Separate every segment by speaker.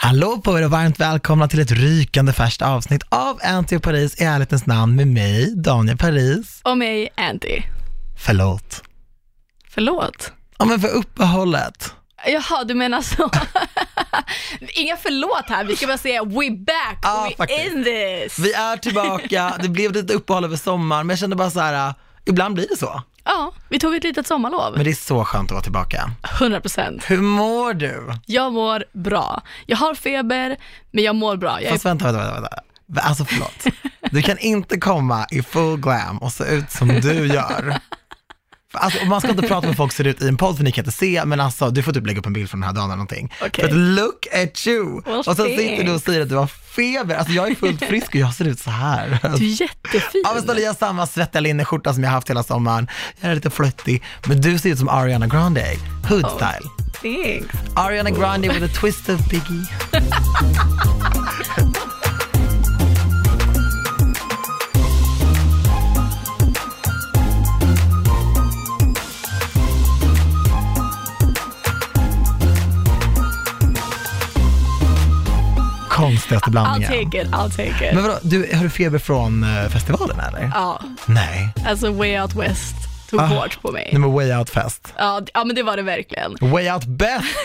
Speaker 1: Hallå på er och varmt välkomna till ett rykande färskt avsnitt av Anty och Paris i ärlighetens namn med mig, Daniel Paris.
Speaker 2: Och mig, Andy.
Speaker 1: Förlåt.
Speaker 2: Förlåt.
Speaker 1: Ja men för uppehållet.
Speaker 2: Jaha, du menar så. Inga förlåt här, vi ska bara säga we back,
Speaker 1: Ja,
Speaker 2: we
Speaker 1: faktiskt.
Speaker 2: in this.
Speaker 1: Vi är tillbaka, det blev lite uppehåll över sommaren men jag kände bara så här, äh, ibland blir det så.
Speaker 2: Ja, vi tog ett litet sommarlov.
Speaker 1: Men det är så skönt att vara tillbaka.
Speaker 2: 100%.
Speaker 1: Hur mår du?
Speaker 2: Jag mår bra. Jag har feber, men jag mår bra. Jag är...
Speaker 1: Fast vänta, vänta, vänta. vänta. Va- Alltså förlåt. Du kan inte komma i full glam och se ut som du gör. För Alltså, och man ska inte prata med folk ser ut i en podd för ni kan inte se, men alltså du får typ lägga upp en bild från den här dagen eller någonting.
Speaker 2: Okej.
Speaker 1: För att look at you!
Speaker 2: Well,
Speaker 1: och sen sitter du och
Speaker 2: thanks.
Speaker 1: säger att du har feber. Alltså jag är fullt frisk och jag ser ut så här.
Speaker 2: Du är jättefin.
Speaker 1: Ja men snälla jag har samma svettiga linneskjorta som jag har haft hela sommaren. Jag är lite flöttig, men du ser ut som Ariana Grande. eh. Hood
Speaker 2: Oh.
Speaker 1: style.
Speaker 2: Thanks.
Speaker 1: Ariana Grande with a twist of Biggie. Konstigaste
Speaker 2: I'll
Speaker 1: blandningen.
Speaker 2: take it, I'll take it.
Speaker 1: Men vadå, du, har du feber från eh, festivalen eller?
Speaker 2: Ja,
Speaker 1: Nej.
Speaker 2: alltså Way Out West tog
Speaker 1: Ah.
Speaker 2: hårt på mig.
Speaker 1: Nej men way out fest.
Speaker 2: Ja, d- ja, men det var det verkligen.
Speaker 1: Way out best!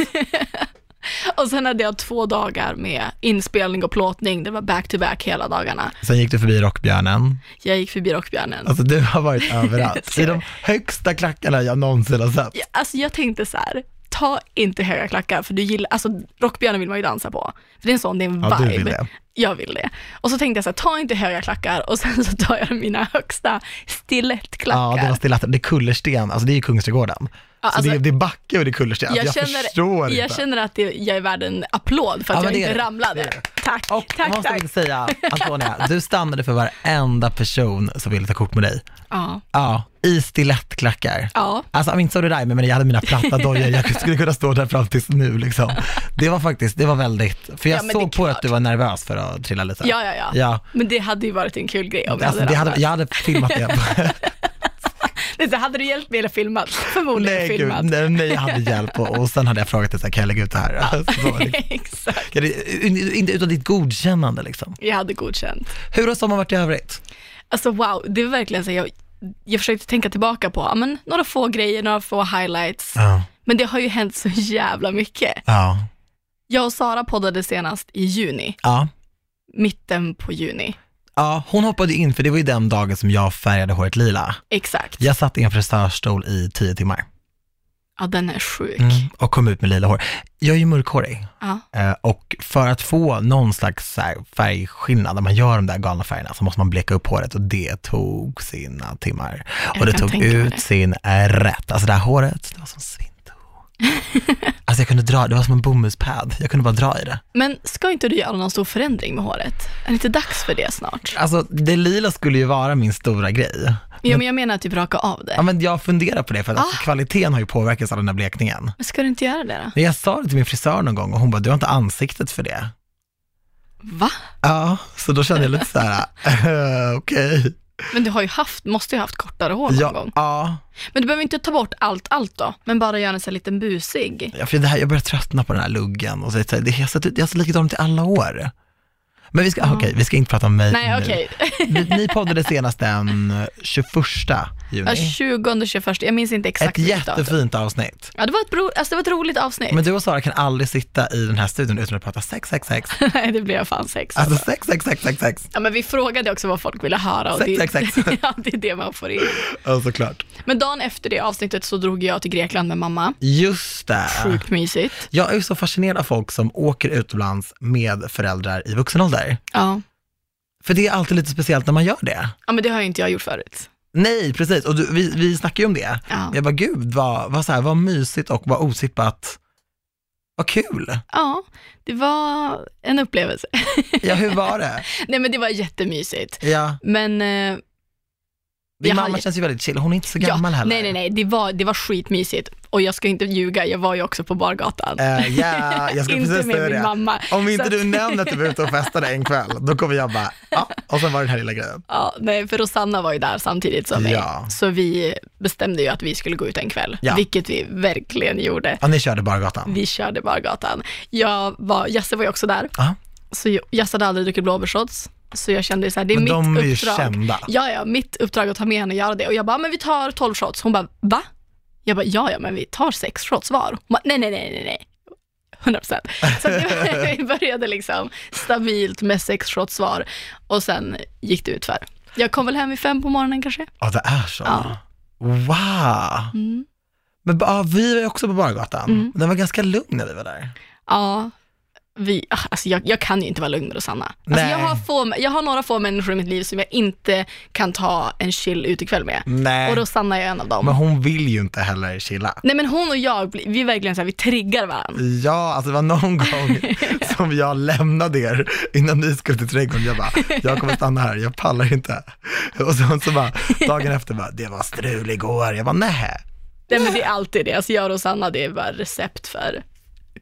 Speaker 2: Och sen hade jag två dagar med inspelning och plåtning. Det var back to back hela dagarna.
Speaker 1: Sen gick du förbi Rockbjörnen.
Speaker 2: Jag gick förbi Rockbjörnen.
Speaker 1: Alltså du har varit överallt.
Speaker 2: Ser
Speaker 1: I
Speaker 2: du?
Speaker 1: de högsta klackarna jag någonsin har sett.
Speaker 2: Ja, alltså jag tänkte så här, ta inte höga klackar för du gillar, alltså rockbjörnen vill man ju dansa på. För det är en sån, det är en vibe.
Speaker 1: Ja, du vill det.
Speaker 2: Jag vill det. Och så tänkte jag så här, ta inte höga klackar och sen så tar jag mina högsta
Speaker 1: Ja,
Speaker 2: stilettklackar.
Speaker 1: det var stillatter. Det är kullersten, alltså det är ju Kungsträdgården.
Speaker 2: Ja,
Speaker 1: så
Speaker 2: alltså-
Speaker 1: det, är- det är backe och det är kullersten. Alltså, Jag, jag förstår
Speaker 2: jag
Speaker 1: inte.
Speaker 2: känner att det, jag är värd en applåd för att
Speaker 1: Ja, men
Speaker 2: jag
Speaker 1: det
Speaker 2: inte
Speaker 1: är det.
Speaker 2: ramlade.
Speaker 1: Det är det.
Speaker 2: Tack,
Speaker 1: och
Speaker 2: tack,
Speaker 1: måste
Speaker 2: tack.
Speaker 1: vi säga, Antonia, du stannade för varenda person som ville ta kort med dig.
Speaker 2: Ja,
Speaker 1: Ja, i stilettklackar.
Speaker 2: ja.
Speaker 1: Alltså I mean, sorry Raimo, men jag hade mina platta dojor, jag skulle kunna stå där fram tills nu liksom. Det var faktiskt, det var väldigt, för jag
Speaker 2: Ja, men det är
Speaker 1: såg på att
Speaker 2: klart.
Speaker 1: du var nervös för att trilla lite.
Speaker 2: Ja, ja, ja,
Speaker 1: Ja.
Speaker 2: Men det hade ju varit en kul grej om jag
Speaker 1: Alltså,
Speaker 2: hade
Speaker 1: det hade,
Speaker 2: ramlat.
Speaker 1: jag hade filmat det.
Speaker 2: Nej, så Hade du hjälpt mig eller filmat? Förmodligen
Speaker 1: nej, gud,
Speaker 2: filmat.
Speaker 1: nej, nej, jag hade hjälp och, och sen hade jag frågat dig, så här, kan jag lägga ut det här? Alltså, så var det.
Speaker 2: Exakt.
Speaker 1: Ja, det- Inte utan ditt godkännande liksom.
Speaker 2: Jag hade godkänt.
Speaker 1: Hur har sommaren varit i övrigt?
Speaker 2: Alltså wow, det var verkligen så jag, jag försökte tänka tillbaka på ja, men, några få grejer, några få highlights.
Speaker 1: Ja.
Speaker 2: Men det har ju hänt så jävla mycket.
Speaker 1: Ja.
Speaker 2: Jag och Sara poddade senast i juni,
Speaker 1: ja.
Speaker 2: mitten på juni.
Speaker 1: Ja, hon hoppade in för det var ju den dagen som jag färgade håret lila.
Speaker 2: Exakt.
Speaker 1: Jag satt i en frisörstol i tio timmar
Speaker 2: Ja, den är sjuk.
Speaker 1: och kom ut med lila hår. Jag är ju mörkhårig
Speaker 2: Ja.
Speaker 1: eh, och för att få någon slags så här färgskillnad när man gör de där galna färgerna så måste man bleka upp håret och det tog sina timmar.
Speaker 2: Jag
Speaker 1: Och det
Speaker 2: kan
Speaker 1: tog
Speaker 2: tänka mig
Speaker 1: ut
Speaker 2: det.
Speaker 1: sin eh, rätt. Alltså det här håret, det var som svinto. alltså jag kunde dra, det var som en bomullspad. Jag kunde bara dra i det.
Speaker 2: Men ska inte du göra någon stor förändring med håret? Är det inte dags för det snart?
Speaker 1: Alltså det lila skulle ju vara min stora grej.
Speaker 2: Ja, men jag menar typ raka av
Speaker 1: Ja,
Speaker 2: det.
Speaker 1: men jag funderar på det för att
Speaker 2: Ah.
Speaker 1: alltså, kvaliteten har ju påverkats av den här blekningen.
Speaker 2: Men ska du inte göra det då?
Speaker 1: Men jag sa det till min frisör någon gång och hon bara, du har inte ansiktet för det.
Speaker 2: Va?
Speaker 1: Ja, så då kände jag lite så här, eh, okej.
Speaker 2: Men du har ju haft, måste ju ha haft kortare hår någon
Speaker 1: Ja,
Speaker 2: gång.
Speaker 1: ja,
Speaker 2: Men du behöver inte ta bort allt, allt då, men bara göra en sån här liten busig.
Speaker 1: Ja, för det här, jag börjar tröttna på den här luggen och så, är det så här, det- jag har sett ut- jag har sett likadan ut i alla år. Men vi ska, ah, okej, vi ska inte prata om mig
Speaker 2: Nej,
Speaker 1: nu.
Speaker 2: okej.
Speaker 1: Ni, ni poddade senast den 21
Speaker 2: Ja,
Speaker 1: juni.
Speaker 2: 20, 21, jag minns inte exakt.
Speaker 1: Ett
Speaker 2: vilket datum.
Speaker 1: jättefint avsnitt.
Speaker 2: Ja, det var ett, bro, alltså det var ett roligt avsnitt.
Speaker 1: Men du och Sara kan aldrig sitta i den här studion utan att prata sex, sex, sex.
Speaker 2: Nej, det blev fan sex.
Speaker 1: Alltså sex, sex, sex, sex, sex.
Speaker 2: Ja, men vi frågade också vad folk ville höra. Och
Speaker 1: Sex,
Speaker 2: det,
Speaker 1: sex, sex.
Speaker 2: ja, det är det man får in.
Speaker 1: Ja, såklart.
Speaker 2: Men dagen efter det avsnittet så drog jag till Grekland med mamma.
Speaker 1: Just det.
Speaker 2: Sjukt mysigt.
Speaker 1: Jag är så fascinerad av folk som åker utomlands med föräldrar i vuxen ålder.
Speaker 2: Ja.
Speaker 1: För det är alltid lite speciellt när man gör det.
Speaker 2: ja, men det har ju inte jag gjort förut.
Speaker 1: Nej, precis. Och du, vi, vi snackade ju om det.
Speaker 2: Ja,
Speaker 1: Jag bara, gud vad, vad, så här, vad mysigt och vad otippat. Vad kul.
Speaker 2: ja det var en upplevelse.
Speaker 1: Ja, hur var det?
Speaker 2: Nej, men det var jättemysigt.
Speaker 1: Ja,
Speaker 2: Men eh,
Speaker 1: din
Speaker 2: Jag har-
Speaker 1: mamma känns ju väldigt chill. Hon är inte så
Speaker 2: ja,
Speaker 1: gammal heller.
Speaker 2: nej, nej, nej, det var, det var skitmysigt. Och jag ska inte ljuga, jag var ju också på bargatan.
Speaker 1: Eh, ja, jag skulle
Speaker 2: Inte
Speaker 1: precis
Speaker 2: med
Speaker 1: säga
Speaker 2: min
Speaker 1: det.
Speaker 2: mamma.
Speaker 1: Om inte
Speaker 2: Så
Speaker 1: du
Speaker 2: att-
Speaker 1: nämner att du var ute och festade en kväll, då kommer jag bara, ja, och sen var det den här lilla grejen.
Speaker 2: Ja, nej, för Rosanna var ju där samtidigt som
Speaker 1: Ja.
Speaker 2: mig. Så vi bestämde ju att vi skulle gå ut en kväll,
Speaker 1: Ja.
Speaker 2: vilket vi verkligen gjorde.
Speaker 1: Ja, ni körde bargatan.
Speaker 2: Vi körde bargatan. Jag var, Jesse var ju också där,
Speaker 1: Ja,
Speaker 2: så jag- Jesse hade aldrig druckit blåbärsshots. Så jag kände så här, det är
Speaker 1: men
Speaker 2: mitt
Speaker 1: de är ju
Speaker 2: uppdrag.
Speaker 1: kända.
Speaker 2: Ja, ja, mitt uppdrag att ta med henne och göra det. Och jag bara, men vi tar 12 shots. Hon bara, va? Jag bara, ja, ja, men vi tar sex shots var. Hon bara, nej, nej, nej, nej, nej. 100 procent. Så det, vi började liksom stabilt med sex shots var och sen gick det utför. Jag kom väl hem vid fem på morgonen kanske.
Speaker 1: Ja, det är så.
Speaker 2: Ja.
Speaker 1: Wow.
Speaker 2: Mm.
Speaker 1: Men ja, vi var ju också på bargatan.
Speaker 2: Mm.
Speaker 1: Den var ganska lugn när vi var där.
Speaker 2: Ja, vi, ah, alltså jag, jag kan ju inte vara lugn med Rosanna. Alltså
Speaker 1: Nej.
Speaker 2: jag, har få, jag har några få människor i mitt liv som jag inte kan ta en chill utekväll med.
Speaker 1: Nej,
Speaker 2: Och Rosanna är en av dem.
Speaker 1: men hon vill ju inte heller chilla.
Speaker 2: Nej men hon och jag, blir- vi är verkligen så här, vi triggar varandra.
Speaker 1: Ja, alltså det var någon gång som jag lämnade er innan ni skulle till trädgården. Jag bara, jag kommer stanna här, jag pallar inte. Och sen så bara, dagen efter bara, det var strul igår. Jag bara, nej.
Speaker 2: Nej men det är alltid det, alltså jag och Rosanna det är bara recept för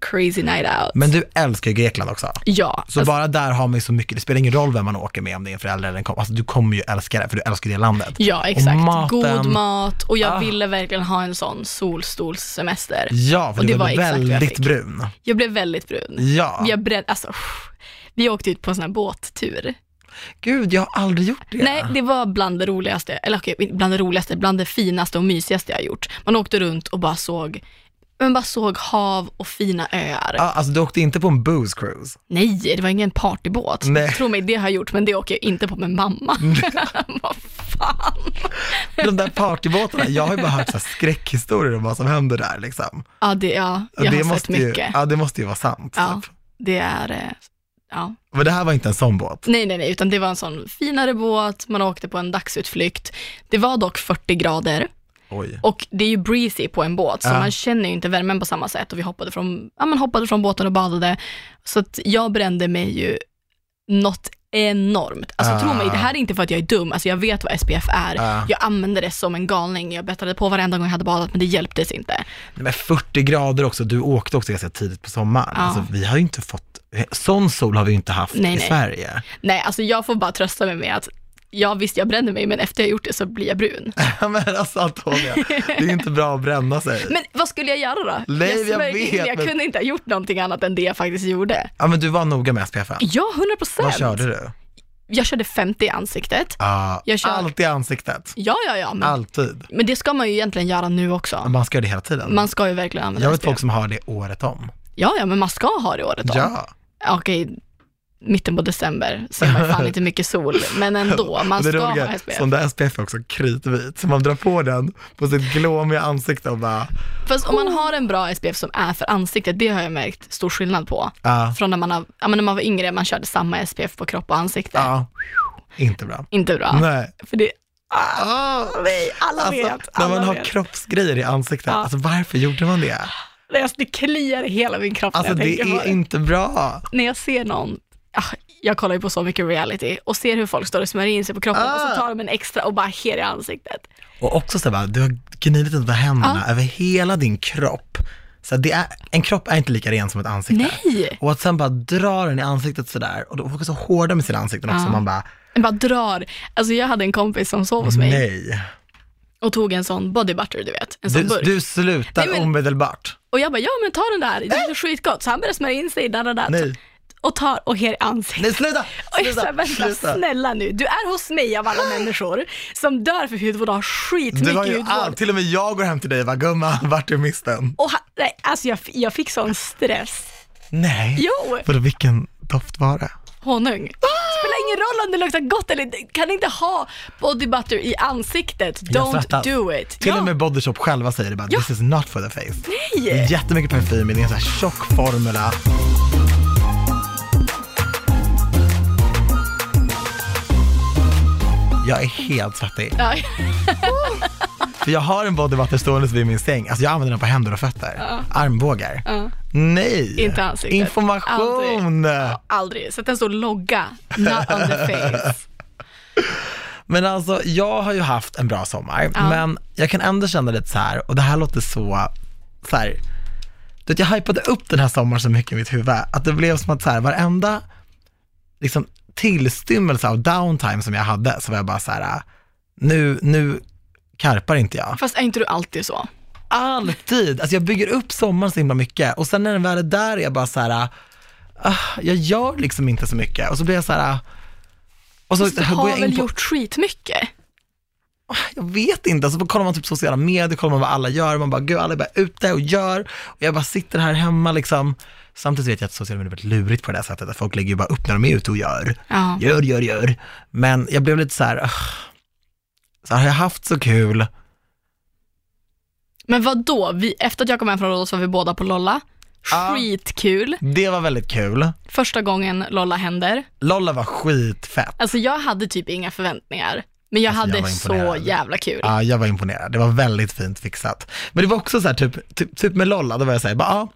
Speaker 2: crazy night out.
Speaker 1: Men du älskar ju Grekland också.
Speaker 2: ja,
Speaker 1: Så
Speaker 2: alltså,
Speaker 1: bara där har man ju så mycket, det spelar ingen roll vem man åker med, om det är en förälder eller en kompis. Alltså du kommer ju älska det, för du älskar det landet.
Speaker 2: ja exakt.
Speaker 1: Och maten.
Speaker 2: God mat och jag
Speaker 1: Ah. Mm.
Speaker 2: ville verkligen ha en sån solstolssemester.
Speaker 1: Ja, för
Speaker 2: Och
Speaker 1: du
Speaker 2: det
Speaker 1: var,
Speaker 2: var exakt vad jag
Speaker 1: väldigt
Speaker 2: fick.
Speaker 1: brun.
Speaker 2: Jag blev väldigt brun.
Speaker 1: Ja.
Speaker 2: Jag bred, alltså, pff. vi åkte ut på en sån här båttur.
Speaker 1: Gud, jag har aldrig gjort det.
Speaker 2: Nej, det var bland det roligaste, eller okej, inte bland det roligaste, bland det finaste och mysigaste jag har gjort. Man åkte runt och bara såg, man bara såg hav och fina öar.
Speaker 1: Ja, alltså du åkte inte på en booze cruise.
Speaker 2: Nej, det var ingen partybåt.
Speaker 1: Nej. Mm.
Speaker 2: Tro mig, det har jag gjort, men det åker jag inte på med mamma. Vad fan.
Speaker 1: De där partybåtarna, jag har ju bara hört så här skräckhistorier om vad som händer där liksom.
Speaker 2: Ja, det, ja jag
Speaker 1: det
Speaker 2: har sett
Speaker 1: måste ju,
Speaker 2: mycket.
Speaker 1: Ja, det måste ju vara sant.
Speaker 2: Ja.
Speaker 1: Typ.
Speaker 2: Det är, eh, ja.
Speaker 1: Men det här var inte en sån båt.
Speaker 2: Nej, nej, nej, utan det var en sån finare båt, man åkte på en dagsutflykt. Det var dock 40 grader
Speaker 1: Oj.
Speaker 2: och det är ju breezy på en båt, så
Speaker 1: Ja.
Speaker 2: man känner ju inte värmen på samma sätt. Och vi hoppade från, ja, man hoppade från båten och badade. Så att jag brände mig ju något enormt. Alltså tro
Speaker 1: Ah.
Speaker 2: mig, det här är inte för att jag är dum, alltså jag vet vad SPF är.
Speaker 1: Ja.
Speaker 2: Jag använde det som en galning, jag bettade på varenda gång jag hade badat men det hjälptes inte.
Speaker 1: Nej, Men 40 grader också, du åkte också ganska tidigt på sommaren.
Speaker 2: Ja.
Speaker 1: Alltså, vi har ju inte fått, sån sol har vi ju inte haft
Speaker 2: Nej,
Speaker 1: i
Speaker 2: nej.
Speaker 1: Sverige.
Speaker 2: Nej, alltså jag får bara trösta mig med att ja visst jag bränner mig men efter jag gjort det så blir jag brun.
Speaker 1: Ja, men alltså Antonija, det är inte bra att bränna sig.
Speaker 2: Men vad skulle jag göra då?
Speaker 1: Nej, jag
Speaker 2: svär
Speaker 1: vet,
Speaker 2: in, jag
Speaker 1: men-
Speaker 2: kunde inte ha gjort någonting annat än det jag faktiskt gjorde.
Speaker 1: Ja men du var noga med SPF.
Speaker 2: Ja, 100
Speaker 1: Vad
Speaker 2: procent.
Speaker 1: körde du?
Speaker 2: Jag körde 50 i ansiktet.
Speaker 1: Ja,
Speaker 2: Jag kör-
Speaker 1: Allt i ansiktet.
Speaker 2: Ja, ja, ja, men,
Speaker 1: Alltid.
Speaker 2: men det ska man ju egentligen göra nu också.
Speaker 1: Man ska göra det hela tiden.
Speaker 2: Man ska ju verkligen använda
Speaker 1: jag vet
Speaker 2: SPF.
Speaker 1: folk som har det året om.
Speaker 2: Ja, ja, men man ska ha det året om.
Speaker 1: Ja,
Speaker 2: Okej, mitten på december ser man ju fan inte mycket sol, men ändå, man
Speaker 1: och det
Speaker 2: ska
Speaker 1: roliga,
Speaker 2: ha SPF.
Speaker 1: sån där SPF är också kritvit, så man drar på den på sitt glåmiga ansikte och bara,
Speaker 2: Fast om man har en bra SPF som är för ansiktet, det har jag märkt stor skillnad på.
Speaker 1: ja.
Speaker 2: Från när man, har, ja, men när man var yngre, man körde samma SPF på kropp och ansikte.
Speaker 1: Ja, inte bra.
Speaker 2: Inte bra.
Speaker 1: Nej.
Speaker 2: För det,
Speaker 1: Ah,
Speaker 2: nej, alla
Speaker 1: alltså,
Speaker 2: vet.
Speaker 1: när
Speaker 2: Alla
Speaker 1: man har
Speaker 2: vet.
Speaker 1: kroppsgrejer i ansiktet,
Speaker 2: Ja.
Speaker 1: alltså varför gjorde man det?
Speaker 2: Nej, alltså, det kliar i hela min kropp
Speaker 1: Alltså
Speaker 2: när jag
Speaker 1: det
Speaker 2: tänker på
Speaker 1: är
Speaker 2: det.
Speaker 1: inte bra.
Speaker 2: När jag ser någon, ah, jag kollar ju på så mycket reality och ser hur folk står och smörjer in sig på kroppen
Speaker 1: Ah.
Speaker 2: och så tar de en extra och bara här i ansiktet.
Speaker 1: Och också så här, bara, du har gnidit dina händerna över hela din kropp. Så det är, en kropp är inte lika ren som ett ansikte.
Speaker 2: Nej!
Speaker 1: Och att sen bara dra den i ansiktet sådär, och då folk är så hårda med sina ansikten också,
Speaker 2: Ja.
Speaker 1: man bara,
Speaker 2: Jag bara drar. Alltså jag hade en kompis som sov hos mig
Speaker 1: nej.
Speaker 2: och tog en sån body butter, du vet. En sån
Speaker 1: Du,
Speaker 2: burk.
Speaker 1: du slutar
Speaker 2: Nej, men-
Speaker 1: omedelbart.
Speaker 2: Och jag bara, ja men ta den där, det är så skitgott. Så han började smörja in sig, där, där, där.
Speaker 1: Nej,
Speaker 2: och tar och här i ansiktet.
Speaker 1: nej sluta!
Speaker 2: Och jag sa,
Speaker 1: Sluta!
Speaker 2: vänta
Speaker 1: sluta.
Speaker 2: snälla nu, du är hos mig av alla människor som dör för hudvård och har
Speaker 1: Du
Speaker 2: skitmycket
Speaker 1: har ju
Speaker 2: hudvård.
Speaker 1: allt, till och med jag går hem till dig och bara, gumman, vart är misten?
Speaker 2: Och ha, nej, alltså jag, f- jag fick sån stress.
Speaker 1: Nej.
Speaker 2: Jo,
Speaker 1: Vadå, vilken doft var det?
Speaker 2: honung.
Speaker 1: Ah!
Speaker 2: Spelar ingen roll om det luktar gott eller inte, kan inte ha body butter i ansiktet.
Speaker 1: Jag
Speaker 2: Don't
Speaker 1: skrattar.
Speaker 2: do it.
Speaker 1: Till
Speaker 2: Ja,
Speaker 1: och med Body Shop själva säger det bara, this is not for the face. Det
Speaker 2: nej.
Speaker 1: är jättemycket parfym, i, det är en sån här tjock formula. Jag är helt svettig,
Speaker 2: Ja,
Speaker 1: för jag har en bodybutter stående vid min säng. Alltså jag använder den på händer och fötter, armbågar.
Speaker 2: ja.
Speaker 1: Nej!
Speaker 2: Inte ansiktet.
Speaker 1: Information!
Speaker 2: Aldrig. Så att den står logga, not on the face.
Speaker 1: Men alltså, jag har ju haft en bra sommar,
Speaker 2: Ja.
Speaker 1: men jag kan ändå känna lite så här, och det här låter så så här, du vet, jag hypade upp den här sommaren så mycket i mitt huvud, att det blev som att så här, varenda liksom, tillstymmelse av downtime som jag hade, så var jag bara så här, nu, nu karpar inte jag.
Speaker 2: Fast är inte du alltid så?
Speaker 1: Alltid! Alltså jag bygger upp sommaren så himla mycket och sen när den väl är där är jag bara så här, ah, jag gör liksom inte så mycket och så blir jag så här, "Ah." och så
Speaker 2: Fast du har
Speaker 1: går jag
Speaker 2: väl
Speaker 1: in på,
Speaker 2: gjort skitmycket?
Speaker 1: jag vet inte, alltså kollar man typ sociala medier, kollar man vad alla gör, man bara gud alla är bara ute och gör och jag bara sitter här hemma liksom. Samtidigt vet jag att sociala medier är väldigt lurigt på det där sättet, att folk lägger ju bara upp när de är ute och gör.
Speaker 2: Ja.
Speaker 1: Gör, gör, gör. Men jag blev lite så här, "Ugh." så här, har jag haft så kul?
Speaker 2: Men vad då? Vi, efter att jag kom hem från Rhodos var vi båda på Lolla.
Speaker 1: Ja.
Speaker 2: Skitkul.
Speaker 1: Det var väldigt kul.
Speaker 2: Första gången Lolla händer.
Speaker 1: Lolla var skitfett.
Speaker 2: Alltså jag hade typ inga förväntningar. Men jag
Speaker 1: Alltså, jag
Speaker 2: hade
Speaker 1: var
Speaker 2: så
Speaker 1: imponerad. Ah.
Speaker 2: jävla kul.
Speaker 1: Ja, jag var imponerad. Det var väldigt fint fixat. Men det var också så här, typ, typ, typ med Lolla, då var jag så här, bara, ja,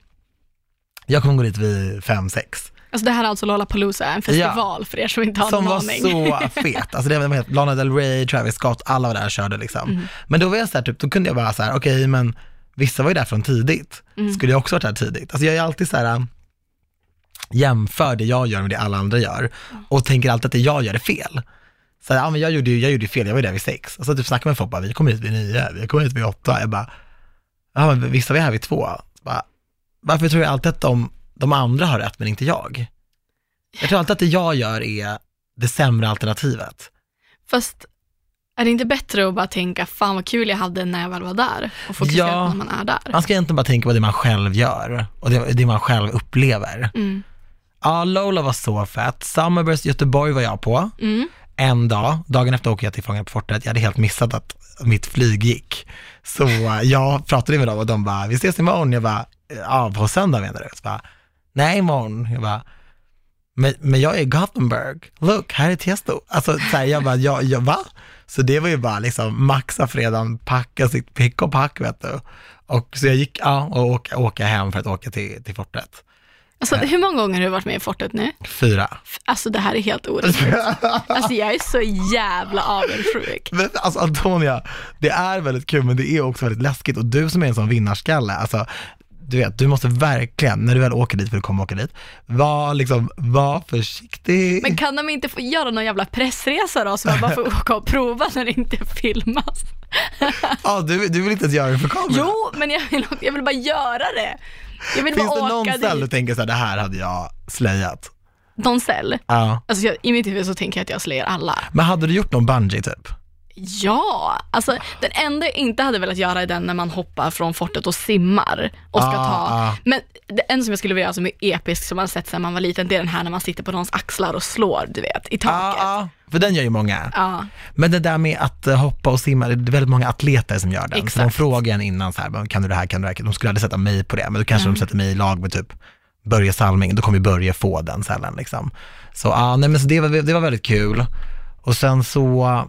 Speaker 1: jag kommer gå dit vid fem, sex.
Speaker 2: Alltså det här är alltså Lollapalooza, en festival för er som inte har
Speaker 1: som
Speaker 2: någon
Speaker 1: var
Speaker 2: aning.
Speaker 1: så fet. Alltså det var helt, Lana Del Rey, Travis Scott, alla var där och körde liksom.
Speaker 2: Mm.
Speaker 1: Men då var jag så här, typ, då kunde jag bara så här, okej men vissa var ju där från tidigt.
Speaker 2: Mm.
Speaker 1: Skulle jag också varit där tidigt? Alltså jag är alltid så här, äh, jämför det jag gör med det alla andra gör och tänker alltid att det jag gör är fel. Så här, ja, men jag gjorde ju jag gjorde ju fel, jag var ju där vid sex. Och så typ snackar man med folk, bara, vi kom hit vid nio, vi kom hit vid åtta. Jag bara, ja men vissa var här vid två. Så Bara, varför tror jag alltid att de, de andra har rätt men inte jag? Jag tror alltid att det jag gör är det sämre alternativet.
Speaker 2: Fast är det inte bättre att bara tänka, fan vad kul jag hade när jag väl var där och fokusera
Speaker 1: Ja.
Speaker 2: på när man är där?
Speaker 1: Man ska egentligen bara tänka på det man själv gör och det, det man själv upplever.
Speaker 2: Mm.
Speaker 1: Ja, Lola var så fett. Summerburst Göteborg var jag på
Speaker 2: Mm.
Speaker 1: en dag. Dagen efter åker jag till Fångarna på fortet. Jag hade helt missat att mitt flyg gick. Så eh, jag pratade med dem och de bara, vi ses imorgon. Jag bara, ja på söndag menar du? Så bara, nej imorgon. Jag bara, men, men jag är i Gothenburg, look, här är Tiesto. Alltså så här, jag bara, jag, jag, va? Så det var ju bara liksom maxa fredagen, packa sitt pick och pack vet du. Och så jag gick, ja, och åka, åka hem för att åka till, till fortet.
Speaker 2: Alltså hur många gånger har du varit med i fortet nu?
Speaker 1: Fyra.
Speaker 2: F- Alltså det här är helt orimligt. Alltså jag är så jävla avundsjuk.
Speaker 1: Men alltså Antonia, det är väldigt kul men det är också väldigt läskigt och du som är en sån vinnarskalle, alltså du vet, du måste verkligen, när du väl åker dit, för du kommer åka dit, var liksom, var försiktig.
Speaker 2: Men kan de inte få göra någon jävla pressresa då, så man bara får åka och prova när det inte filmas?
Speaker 1: Ja, du, du vill inte ens göra det för kameran.
Speaker 2: Jo, men jag vill, jag vill bara göra det. Jag vill
Speaker 1: Finns
Speaker 2: bara
Speaker 1: det
Speaker 2: åka
Speaker 1: någon ställe du
Speaker 2: dit.
Speaker 1: tänker så här, det här hade jag slöjat?
Speaker 2: Någon cell?
Speaker 1: Ja.
Speaker 2: Alltså jag, i mitt huvud så tänker jag att jag slår alla.
Speaker 1: Men hade du gjort någon bungee typ?
Speaker 2: Ja, alltså den enda jag inte hade velat göra är den när man hoppar från fortet och simmar och ska
Speaker 1: Ah,
Speaker 2: ta,
Speaker 1: ah.
Speaker 2: men det, en som jag skulle vilja göra som är episk som man har sett sedan man var liten, det är den här när man sitter på någons axlar och slår, du vet, i
Speaker 1: Ah,
Speaker 2: taket. Ja,
Speaker 1: För den gör ju många. Men det där med att eh, hoppa och simma, det är väldigt många atleter som gör den. Så de
Speaker 2: Exakt.
Speaker 1: frågar en innan så här, "Men kan du det här, kan du det här? De skulle aldrig sätta mig på det, men då
Speaker 2: Mm.
Speaker 1: kanske de sätter mig i lag med typ Börje Salming, då kommer Börje få den sällan liksom. Så ja, nej men så det var, det var väldigt kul. Och sen så,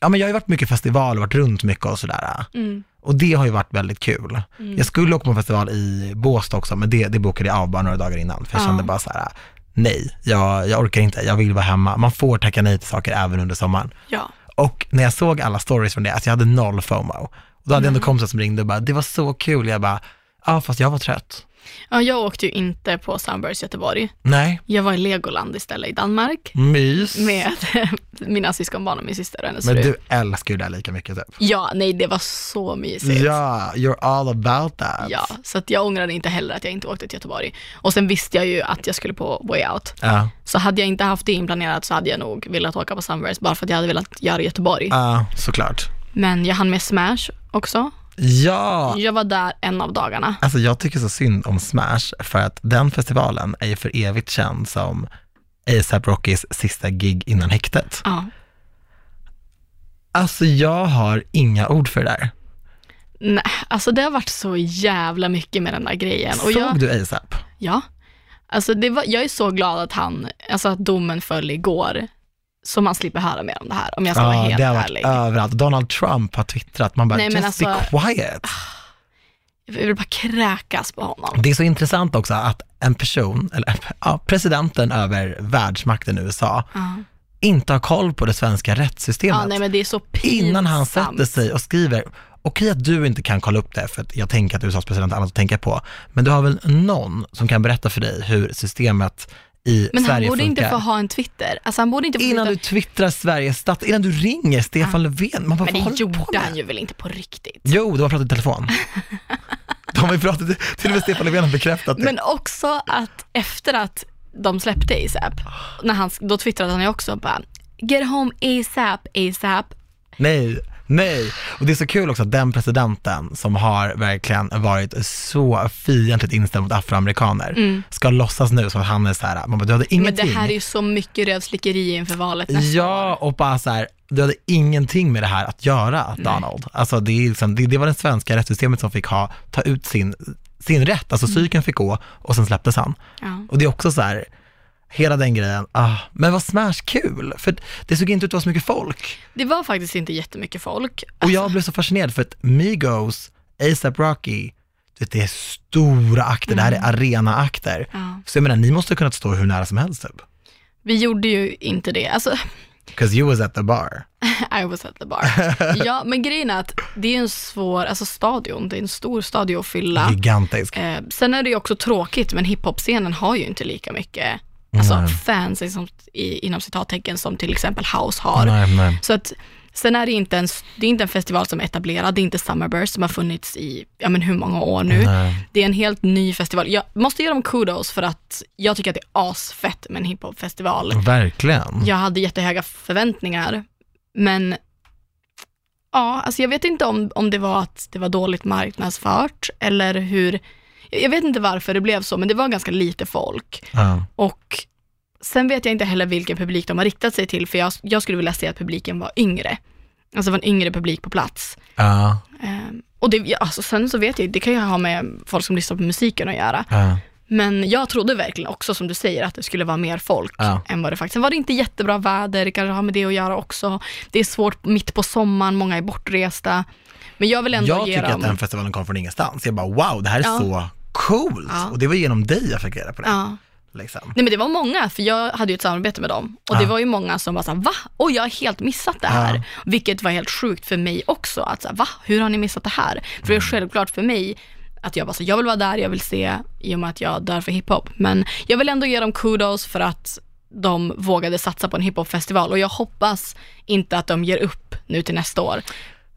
Speaker 1: ja men jag har ju varit på mycket festival och varit runt mycket och sådär.
Speaker 2: Mm.
Speaker 1: Och det har ju varit väldigt kul. Jag skulle åka på en festival i Båstad också, men det, det bokade jag av bara några dagar innan. För jag
Speaker 2: Ja.
Speaker 1: kände bara så här: nej, jag, jag orkar inte, jag vill vara hemma. Man får tacka nej till saker även under sommaren.
Speaker 2: ja.
Speaker 1: Och när jag såg alla stories från det, alltså jag hade noll FOMO. Och då hade jag
Speaker 2: Mm.
Speaker 1: ändå kompisar som ringde och bara, det var så kul. Jag bara, ja fast jag var trött.
Speaker 2: ja, jag åkte ju inte på Sunburst Göteborg.
Speaker 1: Nej,
Speaker 2: Jag var i Legoland istället i Danmark
Speaker 1: mys.
Speaker 2: med mina syskonbarn och min syster och hennes
Speaker 1: Men
Speaker 2: fru.
Speaker 1: du älskar ju det här lika mycket typ.
Speaker 2: Ja, nej det var så mysigt.
Speaker 1: Ja, you're all about that.
Speaker 2: Ja, så att jag ångrade inte heller att jag inte åkte till Göteborg. Och sen visste jag ju att jag skulle på Way Out.
Speaker 1: Ja,
Speaker 2: Så hade jag inte haft det inplanerat så hade jag nog velat åka på Sunburst bara för att jag hade velat göra Göteborg.
Speaker 1: ja, såklart.
Speaker 2: Men jag hann med Smash också.
Speaker 1: Ja,
Speaker 2: Jag var där en av dagarna.
Speaker 1: alltså jag tycker så synd om Smash för att den festivalen är ju för evigt känd som ASAP Rockys sista gig innan häktet.
Speaker 2: Ja.
Speaker 1: Alltså jag har inga ord för det där.
Speaker 2: Nej, alltså det har varit så jävla mycket med den där grejen. Och
Speaker 1: Såg
Speaker 2: jag,
Speaker 1: du ASAP?
Speaker 2: ja. Alltså det var, jag är så glad att han, alltså att domen föll igår. Så man slipper höra mer om det här, om jag ska vara helt
Speaker 1: det har varit
Speaker 2: ärlig.
Speaker 1: överallt. Donald Trump har twittrat, man bara
Speaker 2: Nej, men
Speaker 1: just be
Speaker 2: alltså-
Speaker 1: quiet.
Speaker 2: Jag vill bara kräkas på honom.
Speaker 1: Det är så intressant också att en person, eller ja, presidenten över världsmakten USA,
Speaker 2: Ja.
Speaker 1: inte har koll på det svenska rättssystemet.
Speaker 2: Ja, nej men det är så pinsamt.
Speaker 1: Innan han sätter sig och skriver, okej att du inte kan kolla upp det, för att jag tänker att USAs president har annat att tänka på, men du har väl någon som kan berätta för dig hur systemet i
Speaker 2: Men
Speaker 1: Sverige
Speaker 2: han borde
Speaker 1: funkar.
Speaker 2: inte få ha en Twitter. Alltså han borde inte få
Speaker 1: Innan
Speaker 2: sitta-
Speaker 1: du twittrar Sveriges stats, innan du ringer Stefan Löfven. Man bara,
Speaker 2: Men
Speaker 1: vad
Speaker 2: det
Speaker 1: håller du på
Speaker 2: gjorde
Speaker 1: med?
Speaker 2: han ju väl inte på riktigt.
Speaker 1: Jo, de har pratat i telefon. De har ju pratat, till och med Stefan Löfven har bekräftat det.
Speaker 2: Men också att efter att de släppte ASAP, när han, då twittrade han ju också bara “Get home ASAP, ASAP”.
Speaker 1: Nej, nej. Och det är så kul också att den presidenten som har verkligen varit så fientligt inställd mot afroamerikaner ska låtsas nu som att han är så här, man bara, du hade
Speaker 2: Mm. Men det
Speaker 1: ingenting.
Speaker 2: här är ju så mycket rövslickeri inför valet nästa år.
Speaker 1: Ja, och bara så här, du hade ingenting med det här att göra, Donald. Alltså det, är liksom, det, det var det svenska rättssystemet som fick ha, ta ut sin, sin rätt, alltså psyken fick gå och sen släpptes han.
Speaker 2: Mm. Ja.
Speaker 1: Och det är också så här, hela den grejen, ah, men vad smash kul, för det såg inte ut att vara så mycket folk.
Speaker 2: Det var faktiskt inte jättemycket folk.
Speaker 1: Och jag blev så fascinerad för att Migos, ASAP Rocky, du vet, det är stora akter, det här är arenaakter.
Speaker 2: Mm. Ja.
Speaker 1: Så jag menar, ni måste ha kunnat stå hur nära som helst typ.
Speaker 2: Vi gjorde ju inte det. Alltså,
Speaker 1: Cause you was at the bar.
Speaker 2: I was at the bar. Ja, men grejen är att det är en svår, alltså stadion, det är en stor stadion att fylla.
Speaker 1: Gigantisk.
Speaker 2: Eh, sen är det ju också tråkigt, men hiphop-scenen har ju inte lika mycket alltså,
Speaker 1: Nej.
Speaker 2: fans liksom, i, inom citattecken som till exempel House har.
Speaker 1: Nej, nej.
Speaker 2: Så att, sen är det, inte en, det är inte en festival som är etablerad, det är inte Summerburst som har funnits i ja, men hur många år nu.
Speaker 1: Nej.
Speaker 2: Det är en helt ny festival. Jag måste ge dem kudos för att jag tycker att det är asfett med en hiphop-festival.
Speaker 1: Mm. Verkligen.
Speaker 2: Jag hade jättehöga förväntningar, men ja, alltså jag vet inte om, om det var att det var dåligt marknadsfört eller hur. Jag vet inte varför det blev så, men det var ganska lite folk.
Speaker 1: Ja.
Speaker 2: Och sen vet jag inte heller vilken publik de har riktat sig till, för jag, jag skulle vilja se att publiken var yngre. Alltså det var en yngre publik på plats.
Speaker 1: Ja.
Speaker 2: Ehm, och det, ja, alltså sen så vet jag det kan ju ha med folk som lyssnar på musiken att göra.
Speaker 1: Ja.
Speaker 2: Men jag trodde verkligen också som du säger att det skulle vara mer folk
Speaker 1: Ja.
Speaker 2: än vad det faktiskt Sen var det inte jättebra väder, det kanske har med det att göra också. Det är svårt mitt på sommaren, många är bortresta. Men jag vill ändå
Speaker 1: Jag
Speaker 2: ge
Speaker 1: tycker att
Speaker 2: dem...
Speaker 1: den festivalen kom från ingenstans. Jag bara wow, det här är
Speaker 2: Ja.
Speaker 1: så coolt.
Speaker 2: Ja.
Speaker 1: Och det var genom dig jag fick reda på det.
Speaker 2: ja.
Speaker 1: Liksom.
Speaker 2: Nej men det var många, för jag hade ju ett samarbete med dem. Och det
Speaker 1: Ja.
Speaker 2: var ju många som var såhär, va? Och jag har helt missat det här.
Speaker 1: Ja.
Speaker 2: Vilket var helt sjukt för mig också. Att så här, va? Hur har ni missat det här? För det är självklart för mig att jag bara, så, jag vill vara där, jag vill se, i och med att jag dör för hiphop. Men jag vill ändå ge dem kudos för att de vågade satsa på en hiphopfestival. Och jag hoppas inte att de ger upp nu till nästa år.